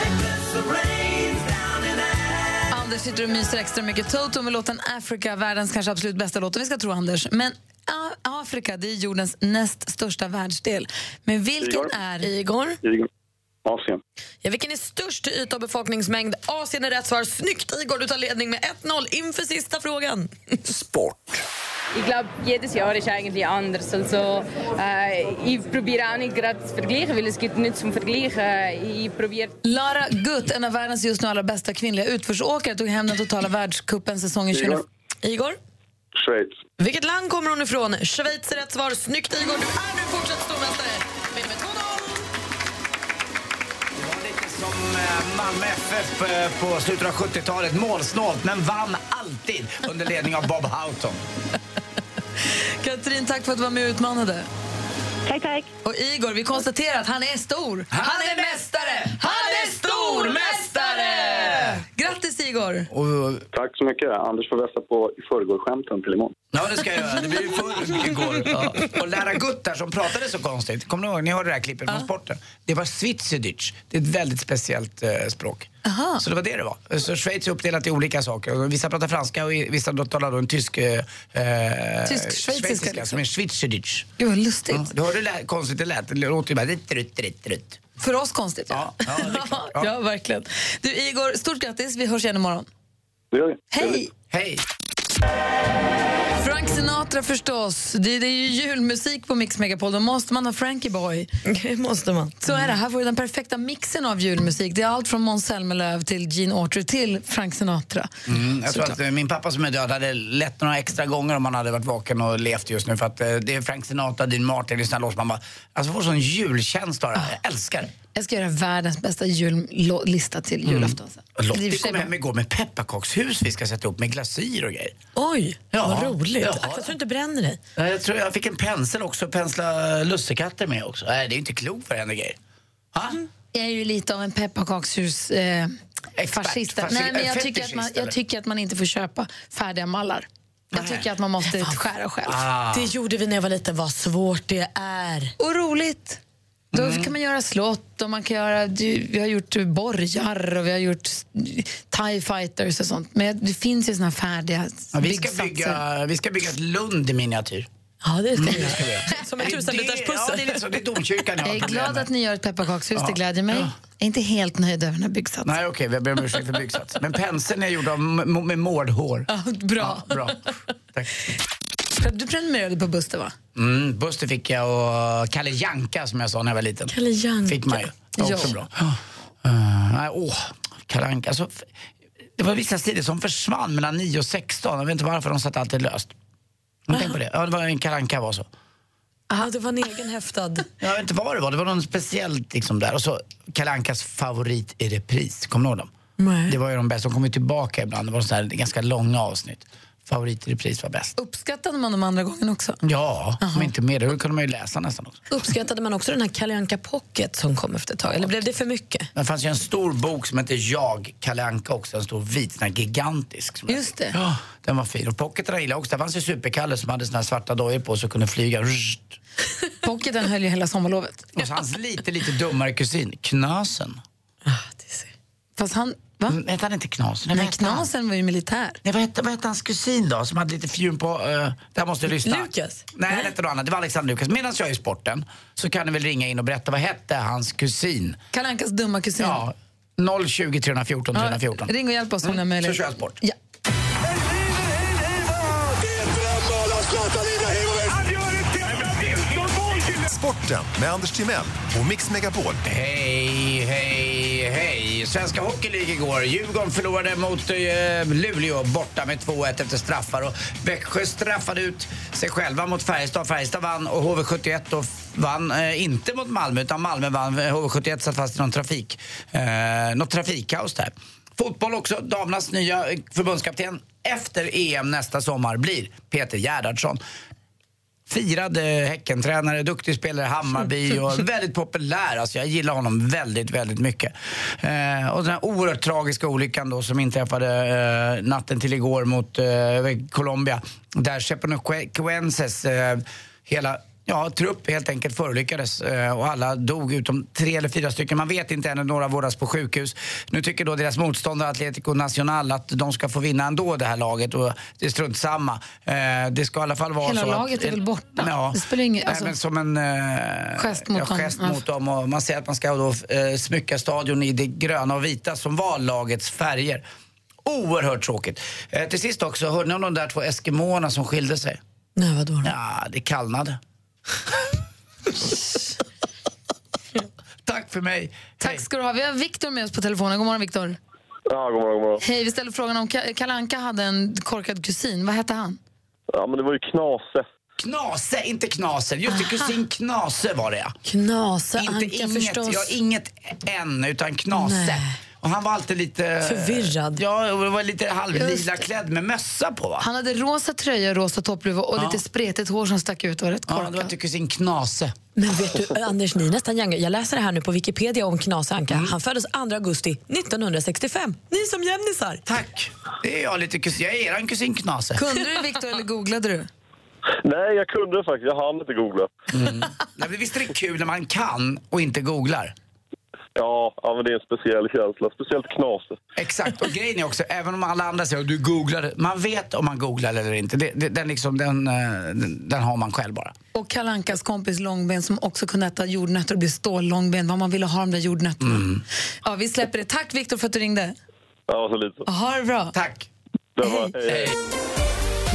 [SPEAKER 13] I guess the rain's down in
[SPEAKER 2] Anders sitter och myser extra mycket. Toto med låten Africa, världens kanske absolut bästa låt om vi ska tro Anders. Men A- Afrika, det är jordens näst största världsdel. Men vilken
[SPEAKER 16] Igor.
[SPEAKER 2] är... Igor?
[SPEAKER 3] Mm.
[SPEAKER 16] Igor. Asien.
[SPEAKER 4] Ja, vilken är störst i yta och befolkningsmängd? Asien är rätt svar. Snyggt Igor, du tar ledning med 1-0 inför sista frågan.
[SPEAKER 20] Sport.
[SPEAKER 5] ich glaube, jedes Jahr ist eigentlich anders. Also, äh,
[SPEAKER 13] eh,
[SPEAKER 5] ich probiere auch nicht gerade zu vergleichen, weil es gibt nichts zum Vergleichen.
[SPEAKER 13] Eh,
[SPEAKER 5] Ich probiere
[SPEAKER 2] Lara Gutt, en av världens just nu allra bästa kvinnliga utförsåkare, tog hem den totala världscupen säsongen 20...
[SPEAKER 4] Igor. Igor?
[SPEAKER 16] Schweiz.
[SPEAKER 4] Vilket land kommer hon ifrån? Schweiz är rätt svar. Snyggt, Igor! Du är nu fortsatt stormästare!
[SPEAKER 3] Som eh, Malmö FF eh, på slutet av 70-talet, målsnålt, men vann alltid under ledning av Bob Houghton.
[SPEAKER 2] Katrin, tack för att du var med och utmanade.
[SPEAKER 6] Tack, tack.
[SPEAKER 2] Och Igor, vi konstaterar att han är stor. Han är mästare! Han är stormästare! Grattis, Igor!
[SPEAKER 16] Tack så mycket. Anders får vässa på i förrgår-skämten till imorgon.
[SPEAKER 3] Ja, det ska jag göra. Det blir ju full igår. Och Lara Gutt där som pratade så konstigt. Kommer ni ihåg? Ni hörde det här klippet från sporten. Det var Schweizerdeutsch. Det är ett väldigt speciellt eh, språk.
[SPEAKER 2] Aha.
[SPEAKER 3] Så det var det det var. Så Schweiz är uppdelat i olika saker. Och Vissa pratar franska och i- vissa då talar då en tysk... Eh, eh,
[SPEAKER 2] Tysk-schweiziska liksom.
[SPEAKER 3] Som är Schweizerdeutsch.
[SPEAKER 2] Gud, vad lustigt.
[SPEAKER 3] Ja, du hörde hur lä- konstigt det lät. Det låter ju bara... Ritt, ritt, ritt, ritt.
[SPEAKER 2] För oss konstigt. Ja, ja, verkligen. Du, Igor, stort grattis. Vi hörs igen imorgon.
[SPEAKER 16] Det gör vi.
[SPEAKER 2] Hej!
[SPEAKER 3] Hej!
[SPEAKER 2] Frank Sinatra förstås. Det, det är ju julmusik på Mix Megapol. Då måste man ha Frankie Boy.
[SPEAKER 4] måste man.
[SPEAKER 2] Så är det. Här får vi den perfekta mixen av julmusik. Det är allt från Måns Zelmerlöw till Gene Autry till Frank Sinatra.
[SPEAKER 3] Mm, jag tror
[SPEAKER 2] Såklart.
[SPEAKER 3] att eh, min pappa som är död hade lätt några extra gånger om han hade varit vaken och levt just nu. För att eh, det är Frank Sinatra, Dean Martin, lyssnar loss. Man bara, alltså får sån julkänsla av det här. Jag älskar det.
[SPEAKER 2] Jag ska göra världens bästa jullista till
[SPEAKER 3] Mm.
[SPEAKER 2] julafton sen. Det är i och
[SPEAKER 3] Lottie
[SPEAKER 2] för sig
[SPEAKER 3] kom hem igår med pepparkakshus vi ska sätta upp med glasyr och grejer.
[SPEAKER 4] Oj,
[SPEAKER 3] Ja.
[SPEAKER 4] vad roligt.
[SPEAKER 3] Ja.
[SPEAKER 4] Akta så du inte bränner dig.
[SPEAKER 3] Ja, Jag tror jag fick en pensel också att pensla lussekatter med också. Nej, det är ju inte klokt vad det händer grejer. Ah.
[SPEAKER 2] Jag är ju lite av en pepparkakshus... Eh, fascist.
[SPEAKER 3] fasci-
[SPEAKER 2] Nej, men jag,
[SPEAKER 3] fetischist,
[SPEAKER 2] tycker att man,
[SPEAKER 3] eller?
[SPEAKER 2] jag tycker att man inte får köpa färdiga mallar. Jag tycker att man måste skära själv.
[SPEAKER 3] Ah.
[SPEAKER 4] Det gjorde vi när jag var liten. Vad svårt det är.
[SPEAKER 2] Och roligt! Då
[SPEAKER 3] Mm.
[SPEAKER 2] kan man göra slott och man kan göra... du- Vi har gjort borgar och vi har gjort s- TIE fighters och sånt. Men det finns ju såna här färdiga
[SPEAKER 3] Ja, vi, ska
[SPEAKER 2] byggsatser.
[SPEAKER 3] bygga, vi ska bygga ett Lund i miniatyr.
[SPEAKER 4] Ja, det ska
[SPEAKER 3] vi göra.
[SPEAKER 4] Som en
[SPEAKER 3] Ja, Mm. det är
[SPEAKER 4] tusenbitars
[SPEAKER 3] lite så. Det är domkyrkan jag
[SPEAKER 2] Jag
[SPEAKER 3] har
[SPEAKER 2] är
[SPEAKER 3] problem
[SPEAKER 2] glad
[SPEAKER 3] med.
[SPEAKER 2] att ni gör ett pepparkakshus,
[SPEAKER 3] Ja.
[SPEAKER 2] det glädjer mig.
[SPEAKER 3] Ja.
[SPEAKER 2] Jag är inte helt nöjd över den här byggsatsen.
[SPEAKER 3] Nej, okej, jag ber om ursäkt för byggsatsen. Men penseln är gjord av m- med mårdhår.
[SPEAKER 2] bra.
[SPEAKER 3] Ja, bra.
[SPEAKER 2] För Du prenumererade på Buster, va?
[SPEAKER 3] Mm, Buster fick jag och Kalle Janka som jag sa när jag var liten.
[SPEAKER 4] Kalle Janka.
[SPEAKER 3] Fick man ju. Det var också
[SPEAKER 2] Ja.
[SPEAKER 3] bra. Eh, nej, åh, Kalle Anka. Alltså, f- det var vissa sidor som försvann mellan 9 och 16. Jag vet inte varför de satt alltid löst. Har ni tänkt på det? Ja, det var en Kalle Anka var så.
[SPEAKER 4] Ja, det var en egen häftad.
[SPEAKER 3] Jag vet inte vad det var. Det var något speciellt liksom där. Och så Kalle Ankas favorit i repris. Kommer ni ihåg dem?
[SPEAKER 4] Nej.
[SPEAKER 3] Det var ju de bästa. De kom ju tillbaka ibland. Det var sådana här ganska långa avsnitt. Favorit i repris var bäst.
[SPEAKER 2] Uppskattade man dem andra gången också?
[SPEAKER 3] Ja, men inte mer. Det kunde man ju läsa nästan också.
[SPEAKER 4] Uppskattade man också den här Kalle Anka Pocket som kom efter ett tag? Eller blev det för mycket?
[SPEAKER 3] Det fanns ju en stor bok som hette Jag, Kalle Anka också. En stor vit, sån här gigantisk. Som
[SPEAKER 2] Just det.
[SPEAKER 3] Ja, den var fin. Och pocketarna gillade jag också. Där fanns ju Super-Kalle som hade såna här svarta dojor på sig och kunde flyga.
[SPEAKER 2] Pocketen höll ju hela sommarlovet.
[SPEAKER 3] Och så hans lite, lite dummare kusin, Knasen.
[SPEAKER 2] Fast han... Va? Mm,
[SPEAKER 3] hette han inte Knasen?
[SPEAKER 2] Nej, Knasen var ju militär.
[SPEAKER 3] Nej, vad, hette, vad hette hans kusin då, som hade lite fjun på... Uh, det här måste jag lyssna.
[SPEAKER 2] Lukas?
[SPEAKER 3] Nej, det hette något annat. Det var Alexander Lukas. Medan jag är i sporten så kan ni väl ringa in och berätta vad hette hans kusin?
[SPEAKER 2] Kalle Ankas dumma kusin.
[SPEAKER 3] Ja, 020 314 314.
[SPEAKER 2] Ring och hjälp oss om ni har möjlighet.
[SPEAKER 3] Så kör jag sport.
[SPEAKER 2] Ja.
[SPEAKER 7] Sporten med Anders Timell och Mix Megapol.
[SPEAKER 3] Hej, hej, hej! Svenska Hockey League igår. Djurgården förlorade mot eh, Luleå borta med 2-1 efter straffar. Och Växjö straffade ut sig själva mot Färjestad. Färjestad vann och HV71 då f- vann eh, inte mot Malmö utan Malmö vann. HV71 satt fast i någon trafik, eh, något trafikkaos där. Fotboll också. Damernas nya eh, förbundskapten efter EM nästa sommar blir Peter Gerhardsson firad eh, Häckentränare, duktig spelare i Hammarby och väldigt populär. Alltså jag gillar honom väldigt, väldigt mycket. Eh, och den här oerhört tragiska olyckan då som inträffade eh, natten till igår mot eh, över Colombia där Cheponoquenses eh, hela Ja, trupp helt enkelt förolyckades eh, och alla dog utom tre eller fyra stycken. Man vet inte ännu, några vårdas på sjukhus. Nu tycker då deras motståndare Atletico Nacional att de ska få vinna ändå det här laget och det är strunt samma. Eh, Det ska i alla fall vara
[SPEAKER 2] Hela
[SPEAKER 3] så att-
[SPEAKER 2] laget är väl borta?
[SPEAKER 3] Ja.
[SPEAKER 2] Det spelar ingen-
[SPEAKER 3] Nej,
[SPEAKER 2] alltså-
[SPEAKER 3] men som en eh,
[SPEAKER 2] Gest mot
[SPEAKER 3] ja,
[SPEAKER 2] dem.
[SPEAKER 3] gest
[SPEAKER 2] Ja.
[SPEAKER 3] mot dem. Och man säger att man ska då, eh, smycka stadion i det gröna och vita som var lagets färger. Oerhört tråkigt. Eh, till sist också, hörde ni om de där två eskimåerna som skilde sig?
[SPEAKER 2] Nej, vadå då?
[SPEAKER 3] Ja, det kallnade. Tack för mig.
[SPEAKER 2] Tack ska du ha. Vi har Viktor med oss på telefonen. God morgon, Viktor.
[SPEAKER 16] Ja, god morgon, god morgon.
[SPEAKER 2] Hej, vi ställer frågan om Ka- Kalle Anka hade en korkad kusin. Vad hette han?
[SPEAKER 16] Ja, men det var ju Knase.
[SPEAKER 3] Knase, inte Knaser. Just det, kusin Knase var det ja.
[SPEAKER 2] Knase,
[SPEAKER 3] inte
[SPEAKER 2] Anka
[SPEAKER 3] inget,
[SPEAKER 2] förstås.
[SPEAKER 3] Ja, inget än, utan Knase.
[SPEAKER 2] Nej.
[SPEAKER 3] Och han var alltid lite...
[SPEAKER 2] Förvirrad.
[SPEAKER 3] Ja, och var lite
[SPEAKER 2] Just
[SPEAKER 3] halvlila
[SPEAKER 2] det.
[SPEAKER 3] klädd med mössa på va?
[SPEAKER 2] Han hade rosa tröja, rosa toppluva och
[SPEAKER 3] Ja.
[SPEAKER 2] lite spretigt hår som stack ut. Var rätt
[SPEAKER 3] Ja, det var till kusin Knase.
[SPEAKER 4] Men vet du, eh, Anders, ni är nästan young. Jag läser det här nu på Wikipedia om Knas Anka. Han föddes 2 augusti 1965. Ni som jämnisar.
[SPEAKER 3] Tack. Det är jag lite kusin. Jag är eran kusin Knase.
[SPEAKER 2] Kunde du Viktor eller googlade du?
[SPEAKER 16] Nej, jag kunde faktiskt. Jag hann inte googla.
[SPEAKER 3] Mm. Nej, men visst är det kul när man kan och inte googlar?
[SPEAKER 16] Ja, ja, men det är en speciell känsla. Speciellt Knase.
[SPEAKER 3] Exakt, och grejen är också, även om alla andra säger att du googlade, man vet om man googlar eller inte. Det, det, den, liksom, den, eh, den, den har man själv bara.
[SPEAKER 2] Och Kalle Ankas kompis Långben som också kunde äta jordnötter och bli stållångben. Vad man ville ha de där jordnötterna.
[SPEAKER 3] Mm.
[SPEAKER 2] Ja, vi släpper det. Tack Viktor för att du ringde.
[SPEAKER 16] Ja, så lite.
[SPEAKER 2] Ha det bra.
[SPEAKER 3] Tack.
[SPEAKER 16] Det var, hej, hej.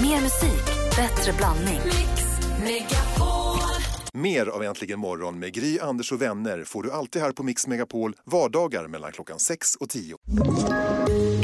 [SPEAKER 1] Mer musik, bättre blandning.
[SPEAKER 7] Mer av Äntligen morgon med Gry, Anders och vänner får du alltid här på Mix Megapol vardagar mellan klockan 6 och 10.